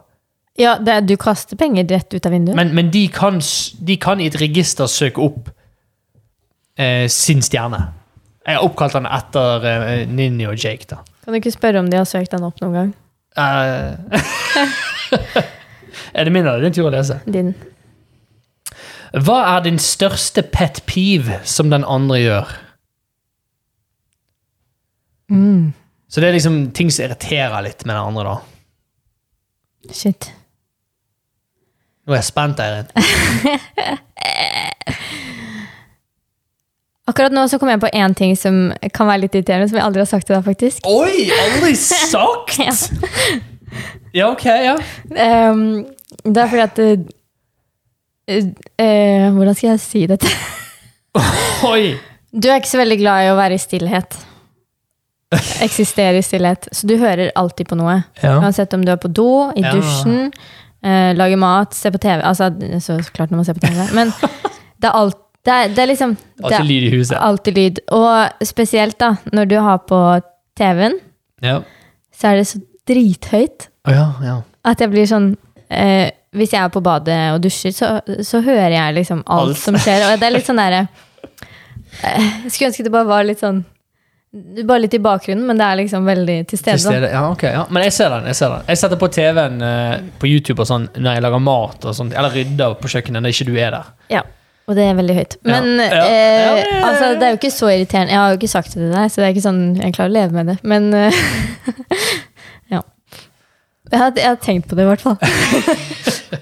Speaker 2: ja det, er- du kaster penger rett ut av vinduet.
Speaker 1: Men, men de, kan, s- de kan i et register søke opp eh, sin stjerne. Jeg har oppkalt den etter eh, Ninni og Jake, da.
Speaker 2: kan du ikke spørre om de har søkt den opp noen gang?
Speaker 1: Eh, er det min eller din tur å lese?
Speaker 2: Din.
Speaker 1: Hva er din største pet peeve som den andre gjør? Så det er liksom ting som irriterer litt med den andre, da.
Speaker 2: Shit.
Speaker 1: Nå er jeg spent, Eirin.
Speaker 2: Akkurat nå så kom jeg på én ting som kan være litt irriterende, som jeg aldri har sagt til deg, faktisk.
Speaker 1: Oi! Aldri sagt!
Speaker 2: Ja.
Speaker 1: Ja, ok, ja.
Speaker 2: Ehm, det er fordi at eh, eh, Hvordan skal jeg si dette?
Speaker 1: Oi!
Speaker 2: Du er ikke så veldig glad i å være i stillhet. Eksistere i stillhet. Så du hører alltid på noe.
Speaker 1: Ja.
Speaker 2: Uansett om du er på do, i
Speaker 1: Ja.
Speaker 2: dusjen, eh, lager mat, ser på TV. Altså, så klart når man ser på TV. Men det er alt Det er, det er liksom det
Speaker 1: Alltid
Speaker 2: er
Speaker 1: lyd i huset.
Speaker 2: alltid lyd. Og spesielt da, når du har på TV-en,
Speaker 1: Ja.
Speaker 2: så er det så drithøyt
Speaker 1: Å ja, ja.
Speaker 2: at jeg blir sånn eh, Hvis jeg er på badet og dusjer, så, så hører jeg liksom alt,
Speaker 1: Alt.
Speaker 2: som skjer. Og det er litt sånn derre eh, Jeg Skulle ønske det bare var litt sånn Bare litt i bakgrunnen, men det er liksom veldig til stede.
Speaker 1: Til
Speaker 2: da.
Speaker 1: stede. Ja, ok. Ja. Men jeg ser den. Jeg ser den. Jeg setter på TV-en eh, på YouTube og sånn når jeg lager mat og sånt, eller rydder på kjøkkenet når ikke du er der.
Speaker 2: Ja, og det er veldig høyt.
Speaker 1: Ja.
Speaker 2: Men
Speaker 1: Ja.
Speaker 2: eh,
Speaker 1: Ja, ja, ja.
Speaker 2: Altså, det er jo ikke så irriterende. Jeg har jo ikke sagt det til deg, så det er ikke sånn jeg klarer å leve med det. Men eh, ja. Jeg har, jeg har tenkt på det, i hvert fall.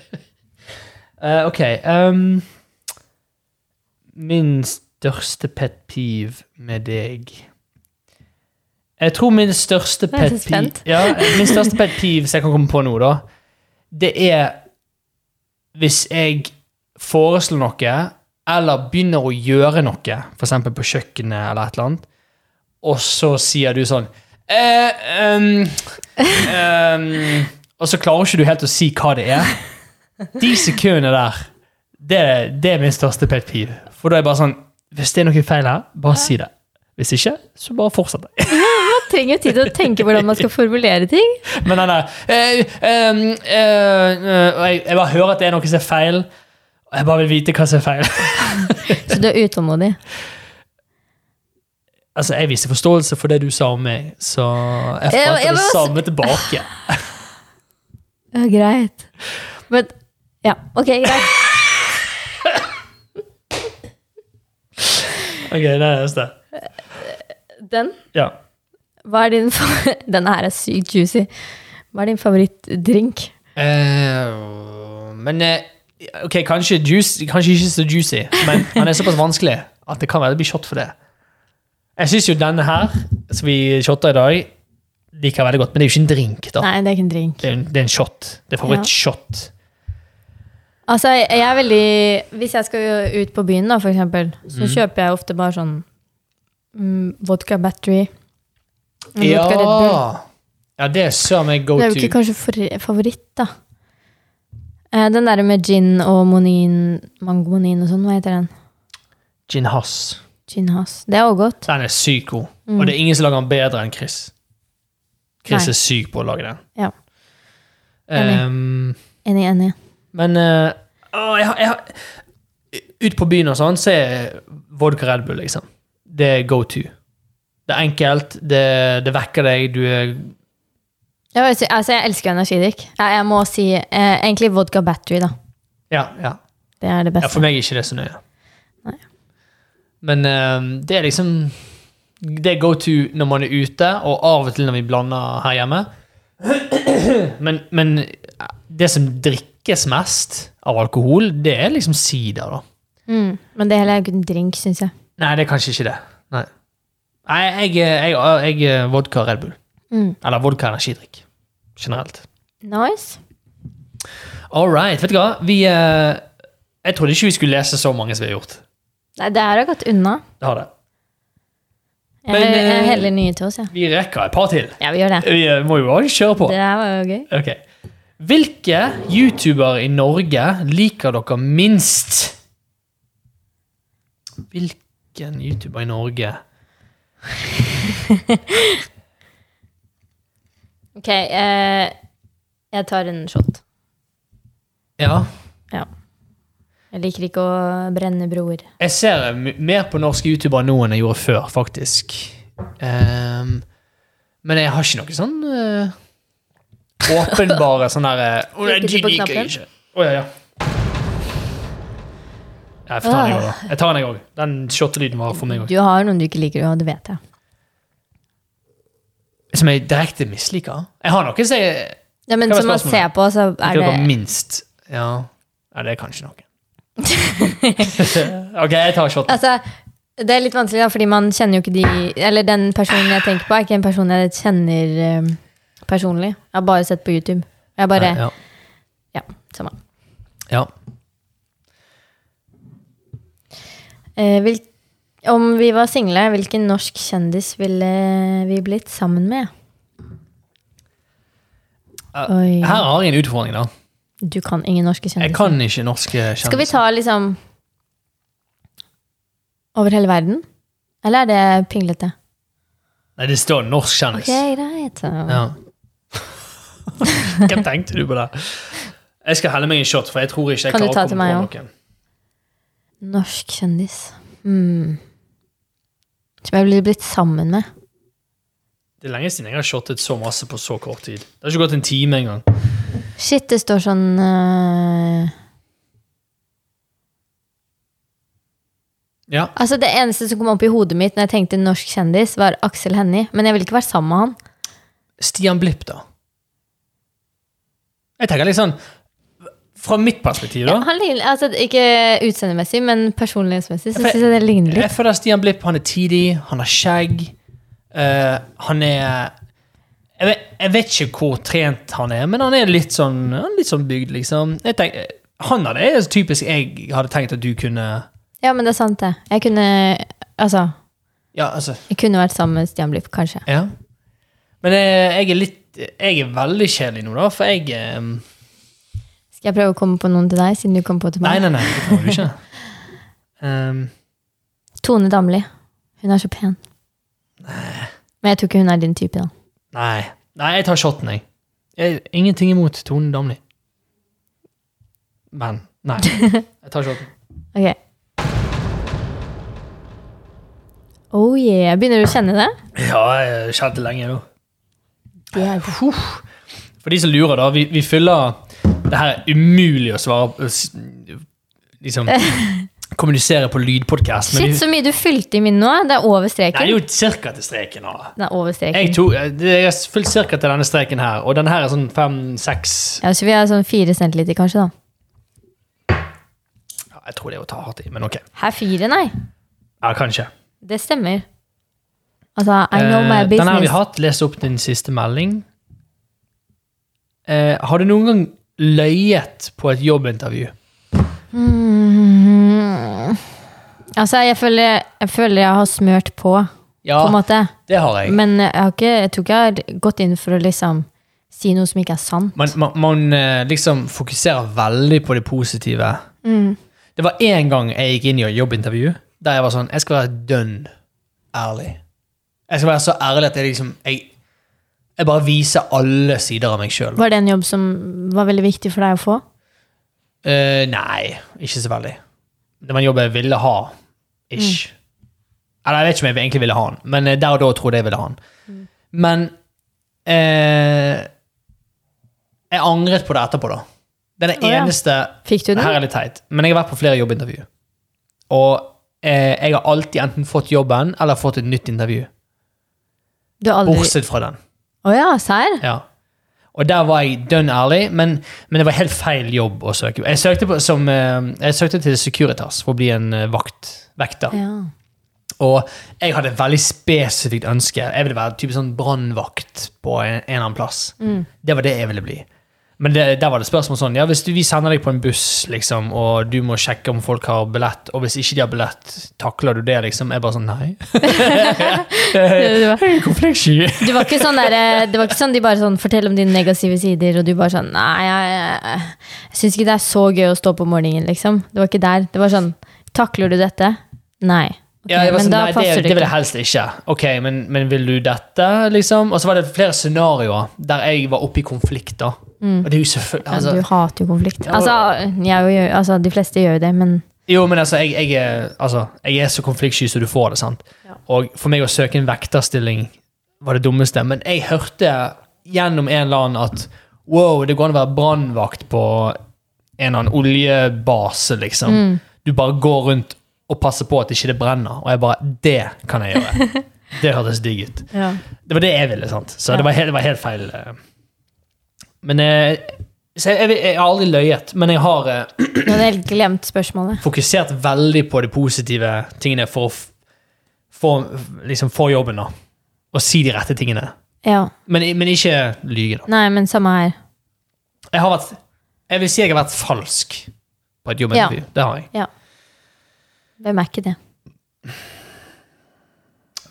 Speaker 1: Eh, ok. ehm, min største pet peeve med deg Jeg tror min største
Speaker 2: Jeg er
Speaker 1: pet
Speaker 2: så
Speaker 1: peeve
Speaker 2: spent.
Speaker 1: ja, Min største pet peeve som jeg kan komme på nå, da, det er hvis jeg foreslår noe, eller begynner å gjøre noe, f.eks. på kjøkkenet eller et eller annet, og så sier du sånn eh, ehm, ehm», Og så klarer ikke du helt å si hva det er. De sekundene der, det, det er min største pet peeve. For da er jeg bare sånn Hvis det er noe feil her, bare si det. Hvis ikke, så bare fortsett.
Speaker 2: Man trenger jo tid til å tenke hvordan man skal formulere ting.
Speaker 1: Men den der eh, ehm, eh, eh, og jeg, jeg bare hører at det er noe som er feil, og jeg bare vil vite hva som er feil.
Speaker 2: Så du er utålmodig.
Speaker 1: Altså, Jeg viser forståelse for det du sa om meg, så jeg
Speaker 2: Jeg-
Speaker 1: forventer det
Speaker 2: jeg var-
Speaker 1: samme tilbake.
Speaker 2: Ja, greit. Men Ja, ok, greit.
Speaker 1: Ok, det er neste.
Speaker 2: Den,
Speaker 1: Ja.
Speaker 2: hva er din fa- Denne her er sykt juicy. Hva er din favorittdrink?
Speaker 1: Eh, men eh, ok, kanskje, juice, kanskje ikke så juicy, men han er såpass vanskelig at det kan være det blir shot for det. Jeg syns jo denne her, som vi shotta i dag, liker jeg veldig godt. Men det er jo ikke en drink, da.
Speaker 2: Nei, det er ikke en drink.
Speaker 1: Det er, en- det er en shot. Det er favorittshot.
Speaker 2: Altså, jeg jeg er veldig Hvis jeg skal ut på byen, da, for eksempel, så kjøper jeg ofte bare sånn mm, vodka battery. og Vodka Red Bull.
Speaker 1: Ja, det er søren meg go
Speaker 2: Det er
Speaker 1: to.
Speaker 2: jo ikke kanskje for- favoritt, da. Eh, Den der med gin og monin, mangomonin og sånn, hva heter den?
Speaker 1: Gin Hass.
Speaker 2: Gin has. Det er òg godt.
Speaker 1: Den er sykt god. Og det er ingen som lager den bedre enn Chris. Chris
Speaker 2: Mm. Nei.
Speaker 1: er syk på å lage den.
Speaker 2: Ja. Enig.
Speaker 1: Ehm,
Speaker 2: Enig, enig.
Speaker 1: men eh, å, jeg, har- jeg, har- Ut på byen og sånn, så er vodka Red Bull, liksom. Det er go to. Det er enkelt, det, det vekker deg, du er
Speaker 2: Jeg, vil si- altså, jeg elsker energidrikk. Jeg, jeg må si eh, egentlig vodka battery, da.
Speaker 1: Ja, ja.
Speaker 2: Det er det
Speaker 1: ja
Speaker 2: beste.
Speaker 1: for meg er ikke det så nøye.
Speaker 2: Nei.
Speaker 1: Men eh, det er liksom Det er go to når man er ute, og av og til når vi blander her hjemme. Men, men det som drikkes mest av alkohol, det er liksom sider, da.
Speaker 2: Mm. Men det hele er jo ikke en drink, syns jeg.
Speaker 1: Nei, det er kanskje ikke det. Nei, Nei jeg, jeg, jeg, jeg vodka Red Bull.
Speaker 2: Mm.
Speaker 1: Eller vodka energidrikk. Generelt.
Speaker 2: Nice.
Speaker 1: All right. Vet du hva? Vi eh, Jeg trodde ikke vi skulle lese så mange som vi har gjort.
Speaker 2: Nei, det her har gått unna.
Speaker 1: Det har det.
Speaker 2: Jeg,
Speaker 1: Men,
Speaker 2: jeg,
Speaker 1: eh,
Speaker 2: heller nye til oss, jeg.
Speaker 1: Vi rekker et par til.
Speaker 2: Ja. ja, vi gjør det.
Speaker 1: Vi eh, må jo bare kjøre på.
Speaker 2: Det her var jo gøy.
Speaker 1: Ok. Hvilke youtubere i Norge liker dere minst? Hvilken youtuber i Norge
Speaker 2: Ok, eh, jeg tar en shot.
Speaker 1: Ja.
Speaker 2: Ja. Jeg liker ikke å brenne broer.
Speaker 1: Jeg ser m- mer på norske youtubere nå enn jeg gjorde før, faktisk. Ehm, men jeg har ikke noe sånn eh, åpenbare sånn derre Å, nei, de
Speaker 2: Trykker du på
Speaker 1: liker jeg
Speaker 2: knappen?
Speaker 1: ikke. Å, ja, ja. Jeg får ta den, jeg òg, da. Jeg tar den, jeg òg. Den shottelyden var for meg òg.
Speaker 2: Du har noen du ikke liker, og det vet jeg.
Speaker 1: Som jeg direkte misliker. Jeg har noe som jeg
Speaker 2: Ja, men
Speaker 1: Hva var
Speaker 2: som man ser
Speaker 1: spørsmålet?
Speaker 2: på, så er
Speaker 1: liker
Speaker 2: det
Speaker 1: dere minst. Ja. ja, det er kanskje noe. ok, jeg tar shotten.
Speaker 2: Altså, det er litt vanskelig, da, fordi man kjenner jo ikke de Eller den personen jeg tenker på, er ikke en person jeg kjenner eh, personlig. Jeg har bare sett på YouTube. Jeg bare
Speaker 1: Nei, ja.
Speaker 2: Ja, samme.
Speaker 1: ja.
Speaker 2: Eh, vil, om vi var single, hvilken norsk kjendis ville vi blitt sammen med?
Speaker 1: Eh,
Speaker 2: Oi.
Speaker 1: Her har jeg en utfordring, da.
Speaker 2: Du kan ingen norske
Speaker 1: Jeg
Speaker 2: kjendiser.
Speaker 1: kan ikke norske
Speaker 2: Skal vi
Speaker 1: kjendiser.
Speaker 2: ta liksom Over hele verden? Eller er det pinglete?
Speaker 1: Nei, det står norsk kjendis.
Speaker 2: Ok, greit.
Speaker 1: Ja. Hvem tenkte du på det? Jeg skal helle meg en shot, for jeg tror ikke jeg
Speaker 2: Kan du
Speaker 1: klarer å
Speaker 2: ta
Speaker 1: komme
Speaker 2: til meg
Speaker 1: på
Speaker 2: også?
Speaker 1: noen.
Speaker 2: Norsk kjendis. Hmm. Som jeg ville blitt sammen med.
Speaker 1: Det er lenge siden jeg har shottet så masse på så kort tid. Det har ikke gått en time engang.
Speaker 2: Shit, det står sånn øh,
Speaker 1: Ja.
Speaker 2: Altså Det eneste som kom opp i hodet mitt når jeg tenkte norsk kjendis, var Aksel Hennie. Men jeg ville ikke vært sammen med han.
Speaker 1: Stian Blipp, da. Jeg tenker litt sånn Fra mitt perspektiv, da.
Speaker 2: Ja, han ligner, altså Ikke utseendemessig, men personlighetsmessig. Så
Speaker 1: For-
Speaker 2: synes jeg det ligner litt
Speaker 1: Jeg føler Stian Blipp han er tidig, han har skjegg. eh, han er jeg vet, jeg vet ikke hvor trent han er, men han er litt sånn, han er litt sånn bygd, liksom. Jeg tenk, han av det er typisk jeg hadde tenkt at du kunne
Speaker 2: Ja, men det er sant, det. Jeg kunne Altså,
Speaker 1: Ja, altså
Speaker 2: jeg kunne vært sammen med Stian Blipp, kanskje.
Speaker 1: Ja. Men jeg, jeg er litt Jeg er veldig kjedelig nå, da, for jeg eh,
Speaker 2: Skal jeg prøve å komme på noen til deg, siden du kom på til
Speaker 1: Nei, nei,
Speaker 2: meg?
Speaker 1: nei, det kan du ikke. Um,
Speaker 2: Tone Damli. Hun er så pen. Men jeg tror ikke hun er din type, da.
Speaker 1: nei. Nei, jeg tar shoten, jeg. jeg ingenting imot Tone Damli. Men Nei. Jeg tar shoten.
Speaker 2: Ok. Oh yeah. Begynner du å kjenne det?
Speaker 1: Ja, jeg har kjent det lenge nå.
Speaker 2: Det er det.
Speaker 1: For de som lurer, da. Vi, vi fyller Det her er umulig å svare på, s- Liksom kommunisere på lydpodkast. Men
Speaker 2: Shit,
Speaker 1: vi,
Speaker 2: så mye du fylte i min nå. Det er over
Speaker 1: det er
Speaker 2: streken.
Speaker 1: jo cirka til streken. da.
Speaker 2: Den er over
Speaker 1: Jeg
Speaker 2: streken.
Speaker 1: tok, det er fullt cirka til denne streken her, og denne her er sånn fem-seks
Speaker 2: Ja, så vi er sånn fire centiliter, kanskje, da.
Speaker 1: ja, Jeg tror det er å ta hardt i, men ok.
Speaker 2: Her fire, nei.
Speaker 1: Ja, kanskje.
Speaker 2: Det stemmer. Altså, I know my
Speaker 1: Eh, Den her har vi
Speaker 2: business.
Speaker 1: hatt. Les opp din siste melding. Eh, har du noen gang løyet på et jobbintervju?
Speaker 2: Mm. Altså, jeg føler, jeg føler jeg har smørt på,
Speaker 1: Ja,
Speaker 2: på en måte.
Speaker 1: det har jeg.
Speaker 2: Men jeg, har ikke, jeg tror ikke jeg har gått inn for å liksom si noe som ikke er sant.
Speaker 1: Man, man, man eh, liksom fokuserer veldig på det positive.
Speaker 2: Mm.
Speaker 1: Det var én gang jeg gikk inn i et jobbintervju der jeg var sånn Jeg skal være dønn ærlig. Jeg skal være så ærlig at jeg liksom Jeg, jeg bare viser alle sider av meg sjøl.
Speaker 2: Var det en jobb som var veldig viktig for deg å få?
Speaker 1: Eh, nei, ikke så veldig. Det var en jobb jeg ville ha.
Speaker 2: Mm.
Speaker 1: Ish. Eller jeg vet ikke om jeg egentlig ville ha den, men eh, der og da trodde jeg ville ha den.
Speaker 2: Mm.
Speaker 1: Men eh, jeg angret på det etterpå, da. Det er
Speaker 2: Å,
Speaker 1: den
Speaker 2: ja.
Speaker 1: eneste
Speaker 2: Fikk du
Speaker 1: Her
Speaker 2: den?
Speaker 1: er litt teit, men jeg har vært på flere jobbintervju. Og eh, jeg har alltid enten fått jobben eller fått et nytt intervju.
Speaker 2: Du har aldri
Speaker 1: Bortsett fra den.
Speaker 2: Å ja, serr?
Speaker 1: Ja. Og der var jeg dønn ærlig, men, men det var helt feil jobb å søke på. Jeg søkte, på, som, eh, jeg søkte til Securitas for å bli en eh, vakt, vekter.
Speaker 2: Ja.
Speaker 1: Og jeg hadde et veldig spesifikt ønske. Jeg ville være typisk sånn brannvakt på en, en eller annen plass.
Speaker 2: Mm.
Speaker 1: Det var det jeg ville bli. Men det, der var det spørsmål sånn, ja, hvis du, vi sender deg på en buss, liksom, og du må sjekke om folk har billett, og hvis ikke de har billett, takler du det, liksom? Jeg bare sånn, nei. Eh,
Speaker 2: Det var-
Speaker 1: Hei, hvorfor er jeg sky?
Speaker 2: Det var ikke sånn der, eh, det var ikke sånn de bare sånn Fortell om dine negative sider, og du bare sånn Nei, jeg, jeg, jeg syns ikke det er så gøy å stå på morgenen, liksom. Det var ikke der. Det var sånn Takler du dette? Nei. Ok,
Speaker 1: Ja, jeg var
Speaker 2: men
Speaker 1: sånn,
Speaker 2: da
Speaker 1: nei, det,
Speaker 2: passer
Speaker 1: det vil
Speaker 2: det
Speaker 1: jeg
Speaker 2: ikke.
Speaker 1: helst ikke. Ok, men, men vil du dette, liksom? Og så var det flere scenarioer der jeg var oppe i konflikt, da. Og det er jo selvfølgelig...
Speaker 2: Mm. Ja,
Speaker 1: Altså,
Speaker 2: du hater jo konflikt.
Speaker 1: Ja, og-
Speaker 2: Altså, jeg, og gjør- altså, de fleste gjør jo det, men
Speaker 1: Jo, men altså, jeg, jeg, er, altså, jeg er så konfliktsky som du får det, sant? Og for meg å søke en vekterstilling var det dummeste, men jeg hørte gjennom en eller annen at wow, det går an å være brannvakt på en eller annen oljebase, liksom. Du bare går rundt og passer på at ikke det brenner, og jeg bare, det kan jeg gjøre. det hørtes digg ut. Det var det jeg ville, sant? Så det, var helt, det var helt feil. eh. Men eh, så jeg, jeg, jeg har aldri løyet, men jeg har eh,
Speaker 2: Nå hadde jeg helt glemt spørsmålet.
Speaker 1: fokusert veldig på de positive tingene for å f- få liksom, få jobben, da. Og si de rette tingene.
Speaker 2: Ja.
Speaker 1: Men, men ikke lyge, da.
Speaker 2: Nei, men samme her.
Speaker 1: Jeg har vært Jeg vil si jeg har vært falsk på et jobbintervju. Det har jeg.
Speaker 2: Hvem er ikke det?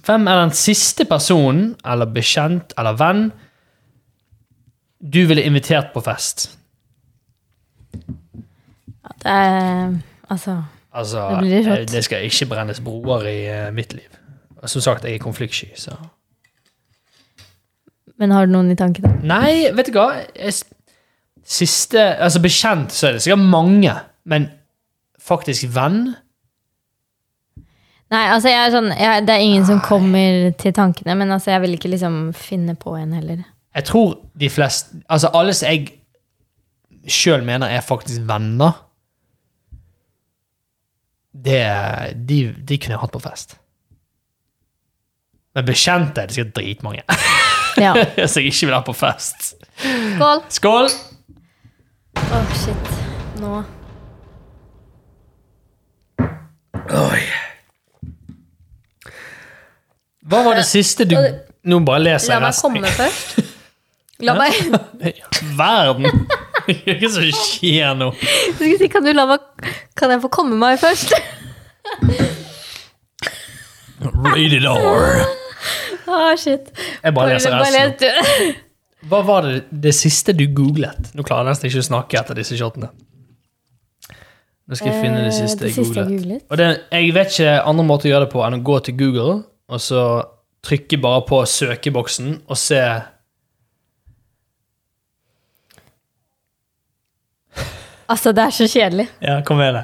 Speaker 1: Hvem er den siste personen, eller bekjent, eller venn, du ville invitert på fest?
Speaker 2: det er, altså
Speaker 1: Altså,
Speaker 2: Det blir rått.
Speaker 1: eh, det skal ikke brennes broer i eh, mitt liv. Og Som sagt, jeg er konfliktsky, så
Speaker 2: Men har du noen i tankene?
Speaker 1: Nei, vet du hva? Jeg, s- siste Altså, bekjent så er det sikkert mange, men faktisk venn
Speaker 2: Nei, altså jeg er sånn, jeg, det er ingen som kommer til tankene, men altså jeg vil ikke liksom finne på en heller.
Speaker 1: Jeg tror de fleste Altså, alle som jeg sjøl mener er faktisk venner, det de, de kunne jeg hatt på fest. Men bekjente er det sikkert dritmange
Speaker 2: Ja.
Speaker 1: som jeg ikke vil ha på fest.
Speaker 2: Skål!
Speaker 1: Skål!
Speaker 2: Åh, shit. Nå.
Speaker 1: Hva var det siste du Nå bare leser jeg resten.
Speaker 2: først. La meg
Speaker 1: Verden! Hva er det som skjer nå?
Speaker 2: Jeg skulle si, kan du la meg Kan jeg få komme meg først?
Speaker 1: Rated R.
Speaker 2: Åh, shit.
Speaker 1: Jeg bare leser resten.
Speaker 2: resten.
Speaker 1: Hva var det, det siste du googlet? Nå klarer jeg nesten ikke å snakke etter disse shotene. Nå skal jeg finne Eh, det siste jeg googlet. Og det, jeg vet ikke andre måter å gjøre det på enn å gå til Google, og så trykke bare på søkeboksen og se
Speaker 2: Altså, det er så kjedelig.
Speaker 1: Ja, kom med det.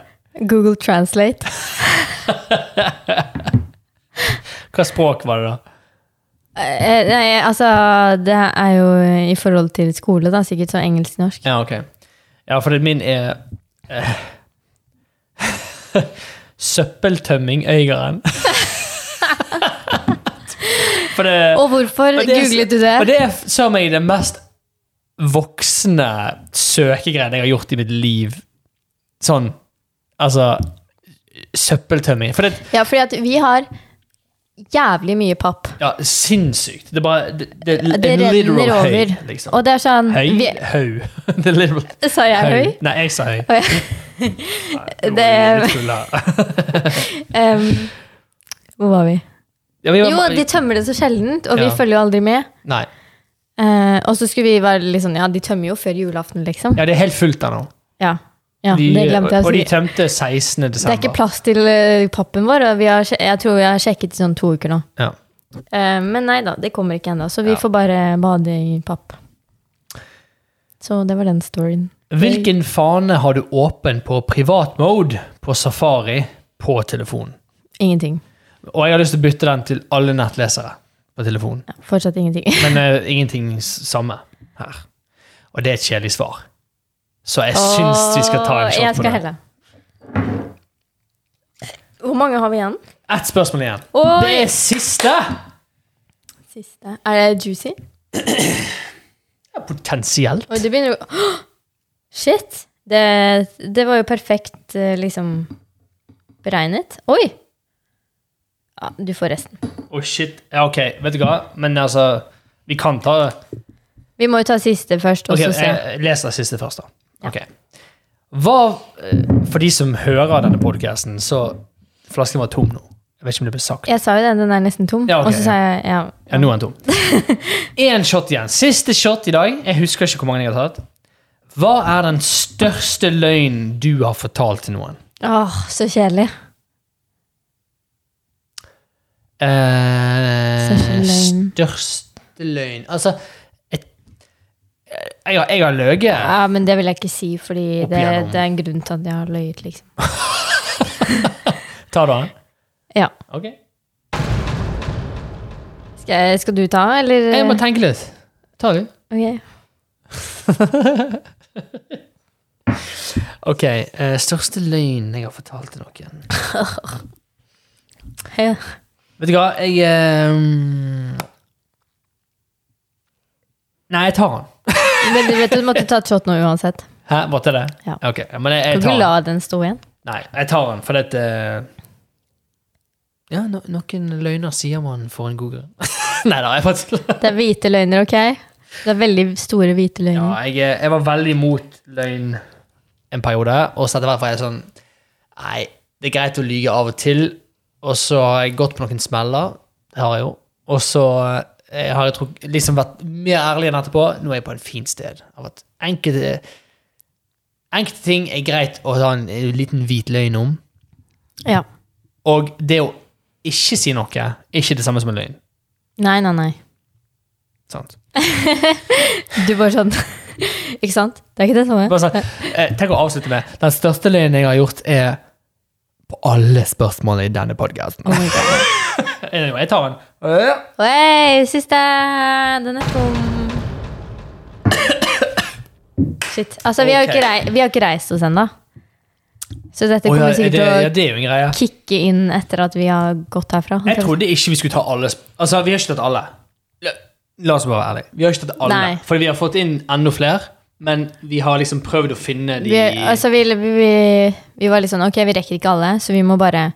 Speaker 2: Google Translate.
Speaker 1: Hva språk var det, da?
Speaker 2: Eh, nei, altså, det er jo eh, i forhold til skole, da. Sikkert sånn engelsk-norsk.
Speaker 1: Ja, ok. Ja, for det min er eh, Søppeltømming Øygarden. for det
Speaker 2: Og hvorfor
Speaker 1: Og det er-
Speaker 2: googlet du det?
Speaker 1: Og det er f- søren meg det mest voksne søkegreiene jeg har gjort i mitt liv. Sånn Altså Søppeltømming. For det
Speaker 2: Ja, fordi at vi har jævlig mye papp.
Speaker 1: Ja, sinnssykt. Det er bare Det, det,
Speaker 2: Det
Speaker 1: en
Speaker 2: renner
Speaker 1: literal
Speaker 2: over.
Speaker 1: høy, liksom.
Speaker 2: Og det er sånn
Speaker 1: Høy?
Speaker 2: vi,
Speaker 1: Haug. Det er literal
Speaker 2: Sa jeg høy?
Speaker 1: Nei, jeg sa høy.
Speaker 2: Å,
Speaker 1: Nei, nå er vi litt full her.
Speaker 2: Em, hvor var vi?
Speaker 1: Ja, vi var-
Speaker 2: Jo, de tømmer det så sjeldent, og vi
Speaker 1: Ja.
Speaker 2: følger jo aldri med.
Speaker 1: Nei.
Speaker 2: Eh, og så skulle vi være litt sånn Ja, de tømmer jo før julaften, liksom.
Speaker 1: Ja, det er helt fullt der nå.
Speaker 2: Ja, ja
Speaker 1: De-
Speaker 2: det glemte jeg å
Speaker 1: og de
Speaker 2: si.
Speaker 1: tømte 16.
Speaker 2: Det er ikke
Speaker 1: desember.
Speaker 2: plass til eh, pappen vår, og vi har, sje- jeg tror jeg har sjekket i sånn to uker nå.
Speaker 1: Ja.
Speaker 2: Eh, men nei da, det kommer ikke ennå, så vi
Speaker 1: Ja.
Speaker 2: får bare bade i papp. Så det var den storyen.
Speaker 1: Hvilken fane har du åpen på privat mode på Safari på telefonen?
Speaker 2: Ingenting.
Speaker 1: Og jeg har lyst til å bytte den til alle nettlesere på telefonen.
Speaker 2: Ja, fortsatt ingenting.
Speaker 1: Men eh, ingenting s- samme her. Og det er et kjedelig svar. Så jeg syns vi skal ta en
Speaker 2: Åh,
Speaker 1: shot
Speaker 2: Jeg
Speaker 1: på
Speaker 2: skal
Speaker 1: det.
Speaker 2: helle.
Speaker 3: Hvor mange har vi igjen?
Speaker 1: Ett spørsmål igjen.
Speaker 2: Oi!
Speaker 1: Det er siste!
Speaker 3: Siste. Er det juicy?
Speaker 1: Ja, Potensielt.
Speaker 3: Oi, det begynner jo Åh! Shit!
Speaker 2: Det, det var jo perfekt eh, liksom beregnet. Oi! Ja, du får resten.
Speaker 1: Å, Oh, shit. Ja, OK, vet du hva? Men altså Vi kan ta det.
Speaker 2: Vi må jo ta siste først, og
Speaker 1: Ok, eh,
Speaker 2: så se.
Speaker 1: jeg leser siste først, da. Ok. Hva, eh, for de som hører denne podcasten, så Flasken var tom nå. Jeg vet ikke om det ble sagt.
Speaker 2: Jeg sa jo den, den er nesten tom.
Speaker 1: Ja, ok,
Speaker 2: og så sa jeg ja.
Speaker 1: Ja, nå er den tom. Én shot igjen. Siste shot i dag. Jeg husker ikke hvor mange jeg har tatt. Hva er den største løgnen du har fortalt til noen?
Speaker 2: Åh, så kjedelig.
Speaker 1: Eh,
Speaker 2: Største løgn.
Speaker 1: Største løgn Altså et, jeg, har- jeg har løyet.
Speaker 2: Ja, men det vil jeg ikke si, fordi
Speaker 1: Opp
Speaker 2: det,
Speaker 1: igjennom.
Speaker 2: det er en grunn til at jeg har løyet, liksom.
Speaker 1: Tar du den?
Speaker 2: Ja.
Speaker 1: Ok.
Speaker 2: Skal, jeg- skal du ta, eller?
Speaker 1: Jeg må tenke litt. Tar du?
Speaker 2: Ok.
Speaker 1: Ok, eh, største løgn jeg har fortalt til noen.
Speaker 2: Ja.
Speaker 1: Vet du hva, jeg eh, Nei, jeg tar den.
Speaker 2: Men du vet du måtte ta et shot nå uansett.
Speaker 1: Hæ, måtte jeg det?
Speaker 2: Ja.
Speaker 1: Ok, men jeg,
Speaker 2: Kan
Speaker 1: jeg
Speaker 2: ikke
Speaker 1: tar
Speaker 2: la
Speaker 1: den.
Speaker 2: den stå igjen.
Speaker 1: Nei, jeg tar den, for eh, dette Ja, no, noen løgner sier man for en god grunn. Nei da, jeg bare tuller.
Speaker 2: Det er hvite løgner, ok? Det er veldig store hvite
Speaker 1: Ja,
Speaker 2: løgner.
Speaker 1: jeg, jeg var veldig imot løgn en periode, og så etter hvert var jeg sånn Nei, det er greit å lyge av og til, og så har jeg gått på noen smeller, det har jeg jo, og så eh, har jeg truk, liksom vært mer ærlig enn etterpå. Nå er jeg på en fin sted. Av at enkelte, enkelte ting er greit å ta en eh, liten hvit løgn om,
Speaker 2: Ja.
Speaker 1: og det å ikke si noe er ikke det samme som en løgn.
Speaker 2: Nei, nei, nei.
Speaker 1: Sant?
Speaker 2: Du bare sånn Ikke sant? Det er ikke det samme.
Speaker 1: Bare sånn, eh, tenk å avslutte med Den største løgnen jeg har gjort, er på alle spørsmålene i denne podkasten.
Speaker 2: Oh my god.
Speaker 1: jeg tar den.
Speaker 2: Oi, siste! Den er tom. Shit. Altså, vi har jo
Speaker 1: Ok.
Speaker 2: ikke, rei vi har ikke reist oss ennå. Så dette
Speaker 1: Å, ja,
Speaker 2: kommer
Speaker 1: er
Speaker 2: sikkert
Speaker 1: det, ja,
Speaker 2: til
Speaker 1: det er jo en greie.
Speaker 2: å kicke inn etter at vi har gått herfra.
Speaker 1: Jeg trodde ikke vi skulle ta alle sp- Altså, vi har ikke tatt alle. La- La oss bare være ærlige. Vi har ikke tatt alle,
Speaker 2: Nei.
Speaker 1: for vi har fått inn enda flere. Men vi har liksom prøvd å finne de
Speaker 2: Vi, altså, vi, vi, vi, vi var litt sånn Ok, vi rekker ikke alle, så vi må bare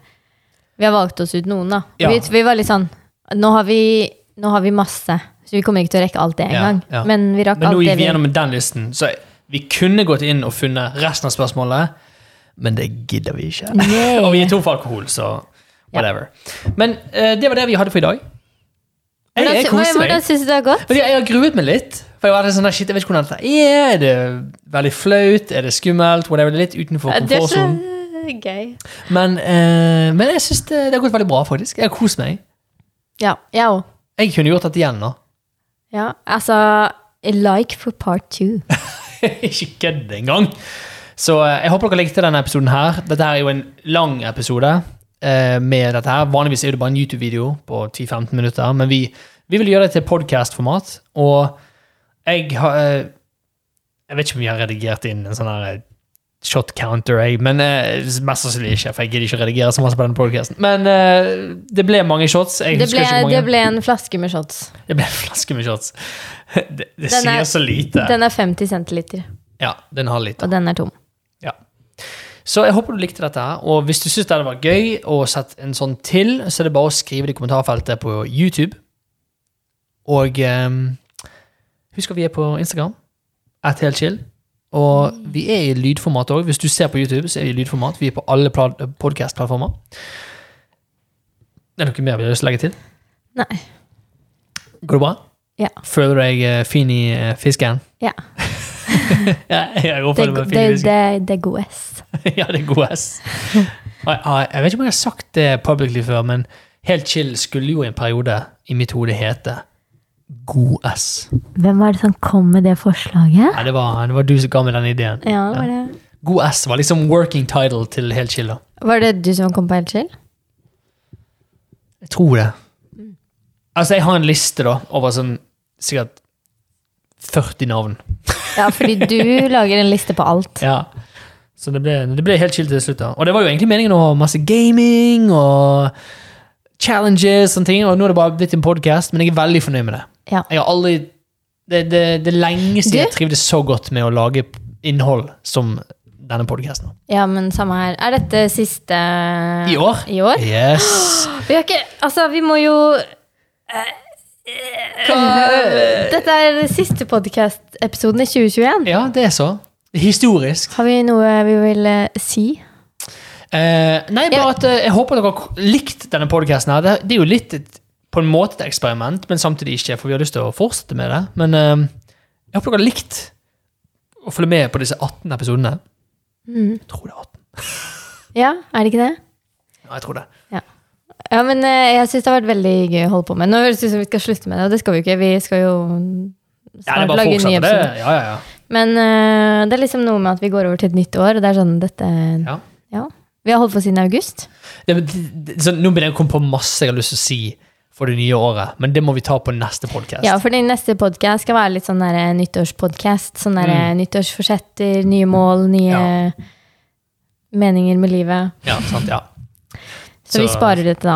Speaker 2: Vi har valgt oss ut noen, da.
Speaker 1: Ja.
Speaker 2: Vi, vi var litt sånn Nå har vi, nå har vi masse, så vi kommer ikke til å rekke alt det
Speaker 1: Ja,
Speaker 2: engang.
Speaker 1: ja.
Speaker 2: Men vi rakk
Speaker 1: Men nå
Speaker 2: alt det
Speaker 1: gikk vi
Speaker 2: vi
Speaker 1: gjennom den listen, så vi kunne gått inn og funnet resten av spørsmålet, men det gidder vi ikke.
Speaker 2: Nei.
Speaker 1: og vi er tom for alkohol, så whatever. Men eh, det var det vi hadde for i dag. Jeg,
Speaker 2: Hvordan,
Speaker 1: jeg koste
Speaker 2: hvordan
Speaker 1: meg.
Speaker 2: syns du det har gått?
Speaker 1: Fordi jeg har gruet meg litt. For Jeg var litt sånn, der, shit, jeg vet ikke hvordan dette er. Er det veldig flaut? Er det skummelt? Whatever, det er litt utenfor
Speaker 2: Ja, Det er sånn- så
Speaker 1: komfortsonen.
Speaker 2: gøy.
Speaker 1: Men, eh, men jeg syns det, det har gått veldig bra, faktisk. Jeg har kost meg.
Speaker 2: Ja, jeg òg.
Speaker 1: Jeg kunne gjort dette igjen nå.
Speaker 2: Ja, altså Like for part two.
Speaker 1: ikke kødd engang. Så eh, jeg håper dere likte denne episoden her. Dette her er jo en lang episode eh, med dette her. Vanligvis er det bare en YouTube-video på 10-15 minutter, men vi, vi vil gjøre det til podcast-format, og jeg har eh, Jeg vet ikke om vi har redigert inn en sånn her eh, shot counter, jeg, men eh, mest sannsynlig ikke, for jeg gidder ikke å redigere så masse på denne podcasten. Men eh, det ble mange shots. Jeg
Speaker 2: Det
Speaker 1: husker
Speaker 2: ble,
Speaker 1: ikke hvor
Speaker 2: det
Speaker 1: mange.
Speaker 2: ble en flaske med shots.
Speaker 1: Det ble en flaske med shots. Det, det
Speaker 2: Den
Speaker 1: sier
Speaker 2: er-
Speaker 1: så lite.
Speaker 2: Den er 50 centiliter,
Speaker 1: ja, den har lite.
Speaker 2: og den er tom.
Speaker 1: Ja. Så jeg håper du likte dette her, og hvis du synes det var gøy å sette en sånn til, så er det bare å skrive det i kommentarfeltet på YouTube. Og ehm, husk at vi er på Instagram, at helt chill. Og
Speaker 2: Mm.
Speaker 1: vi er i lydformat òg. Hvis du ser på YouTube, så er vi i lydformat. Vi er på alle podkast-plattformer. Er det noe mer vi har lyst til å legge til?
Speaker 2: Nei.
Speaker 1: Går det bra?
Speaker 2: Ja.
Speaker 1: Føler du deg eh, fin i eh, fisken?
Speaker 2: Ja.
Speaker 1: ja, jeg går
Speaker 2: Det,
Speaker 1: for det med
Speaker 2: det,
Speaker 1: fin i fisken.
Speaker 2: det, det er god S.
Speaker 1: ja, det er god S. Og Jeg, jeg jeg vet ikke om jeg har sagt det publicly før, men Helt chill skulle jo i en periode i mitt hode hete God S.
Speaker 2: Hvem var det som kom med det forslaget?
Speaker 1: Ja, det, var, det var du som ga meg den ideen.
Speaker 2: Ja, Var det
Speaker 1: God S var liksom working title til Helt chill. da.
Speaker 2: Var det du som kom på Helt chill?
Speaker 1: Jeg tror det. Altså, jeg har en liste da, over sånn sikkert 40 navn.
Speaker 2: Ja, fordi du lager en liste på alt.
Speaker 1: Ja. Så det ble, det ble helt chill til slutt. da. Og det var jo egentlig meningen å ha masse gaming og challenges og ting, og nå er det bare blitt en podkast, men jeg er veldig fornøyd med det.
Speaker 2: Ja.
Speaker 1: Jeg har aldri Det, det, det er lenge siden
Speaker 2: Du?
Speaker 1: jeg trivdes så godt med å lage innhold som denne podkasten.
Speaker 2: Ja, men samme her. Er dette siste
Speaker 1: I år?
Speaker 2: I år?
Speaker 1: Yes!
Speaker 2: Vi har ikke Altså, vi må jo eh, Dette er siste podkast-episoden i 2021.
Speaker 1: Ja, det er så. Historisk.
Speaker 2: Har vi noe vi vil eh, si?
Speaker 1: Eh, nei, bare at eh, jeg håper dere har likt denne podkasten. Det, det er jo litt et, på en måte et eksperiment, men samtidig ikke, for vi har lyst til å fortsette med det. Men eh, jeg håper dere har likt å følge med på disse 18 episodene.
Speaker 2: Mm.
Speaker 1: Jeg tror det er 18.
Speaker 2: Ja, er det ikke det?
Speaker 1: Ja, jeg tror det.
Speaker 2: Ja, men eh, jeg syns det har vært veldig gøy å holde på med. Nå høres det ut som vi skal slutte med det, og det skal vi jo ikke. Vi skal jo
Speaker 1: Ja, det er
Speaker 2: snart
Speaker 1: bare å
Speaker 2: lage en ny
Speaker 1: fortsette det.
Speaker 2: episode.
Speaker 1: Ja, ja, ja.
Speaker 2: Men eh, det er liksom noe med at vi går over til et nytt år, og det er sånn dette
Speaker 1: Ja.
Speaker 2: ja. Vi har holdt på siden august.
Speaker 1: Det, det, det, så nå begynner jeg å komme på masse jeg har lyst til å si for det nye året, men det må vi ta på neste podkast.
Speaker 2: Ja, for den neste podkast skal være litt sånn der eh, nyttårspodkast. Sånn der eh, nyttårsforsetter, nye mål, nye
Speaker 1: Mm. Ja.
Speaker 2: meninger med livet.
Speaker 1: Ja, sant, ja.
Speaker 2: Så, vi sparer dette da.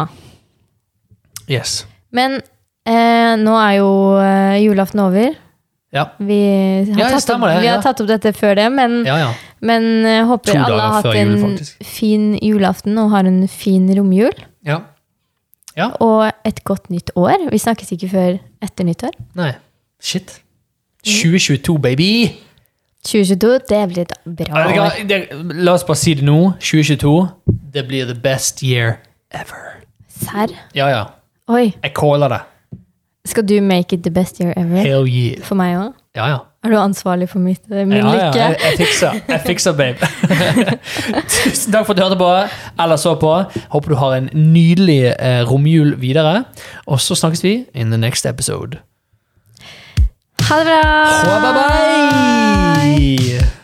Speaker 1: Yes.
Speaker 2: Men eh, nå er jo eh, julaften over.
Speaker 1: Ja,
Speaker 2: Vi har,
Speaker 1: Ja, det
Speaker 2: tatt, opp,
Speaker 1: stemmer det,
Speaker 2: vi
Speaker 1: ja.
Speaker 2: har tatt opp dette før det, men,
Speaker 1: ja. ja.
Speaker 2: men eh, håper
Speaker 1: To
Speaker 2: alle
Speaker 1: dager
Speaker 2: har hatt
Speaker 1: før jul,
Speaker 2: en
Speaker 1: faktisk.
Speaker 2: fin julaften og har en fin romjul.
Speaker 1: ja.
Speaker 2: Og et godt nytt år. Vi snakkes ikke før etter nyttår.
Speaker 1: Nei. Shit. 2022, baby!
Speaker 2: 2022, det blir et bra
Speaker 1: Ja, det
Speaker 2: år.
Speaker 1: kan- det, la oss bare si det nå. 2022. Det blir the best year ever.
Speaker 2: Serr?
Speaker 1: Ja, ja.
Speaker 2: Oi.
Speaker 1: Jeg caller det.
Speaker 2: Skal du make it the best year ever?
Speaker 1: Hell yeah.
Speaker 2: For meg òg?
Speaker 1: Ja, ja.
Speaker 2: Er du ansvarlig for mitt, eh, min
Speaker 1: ja, ja.
Speaker 2: lykke?
Speaker 1: Jeg, jeg fikser, jeg fikser, babe. Tusen takk for at du hørte på eller så på. Håper du har en nydelig eh, romjul videre. Og så snakkes vi in the next episode.
Speaker 2: Ha det bra!
Speaker 1: Ha, bye bye!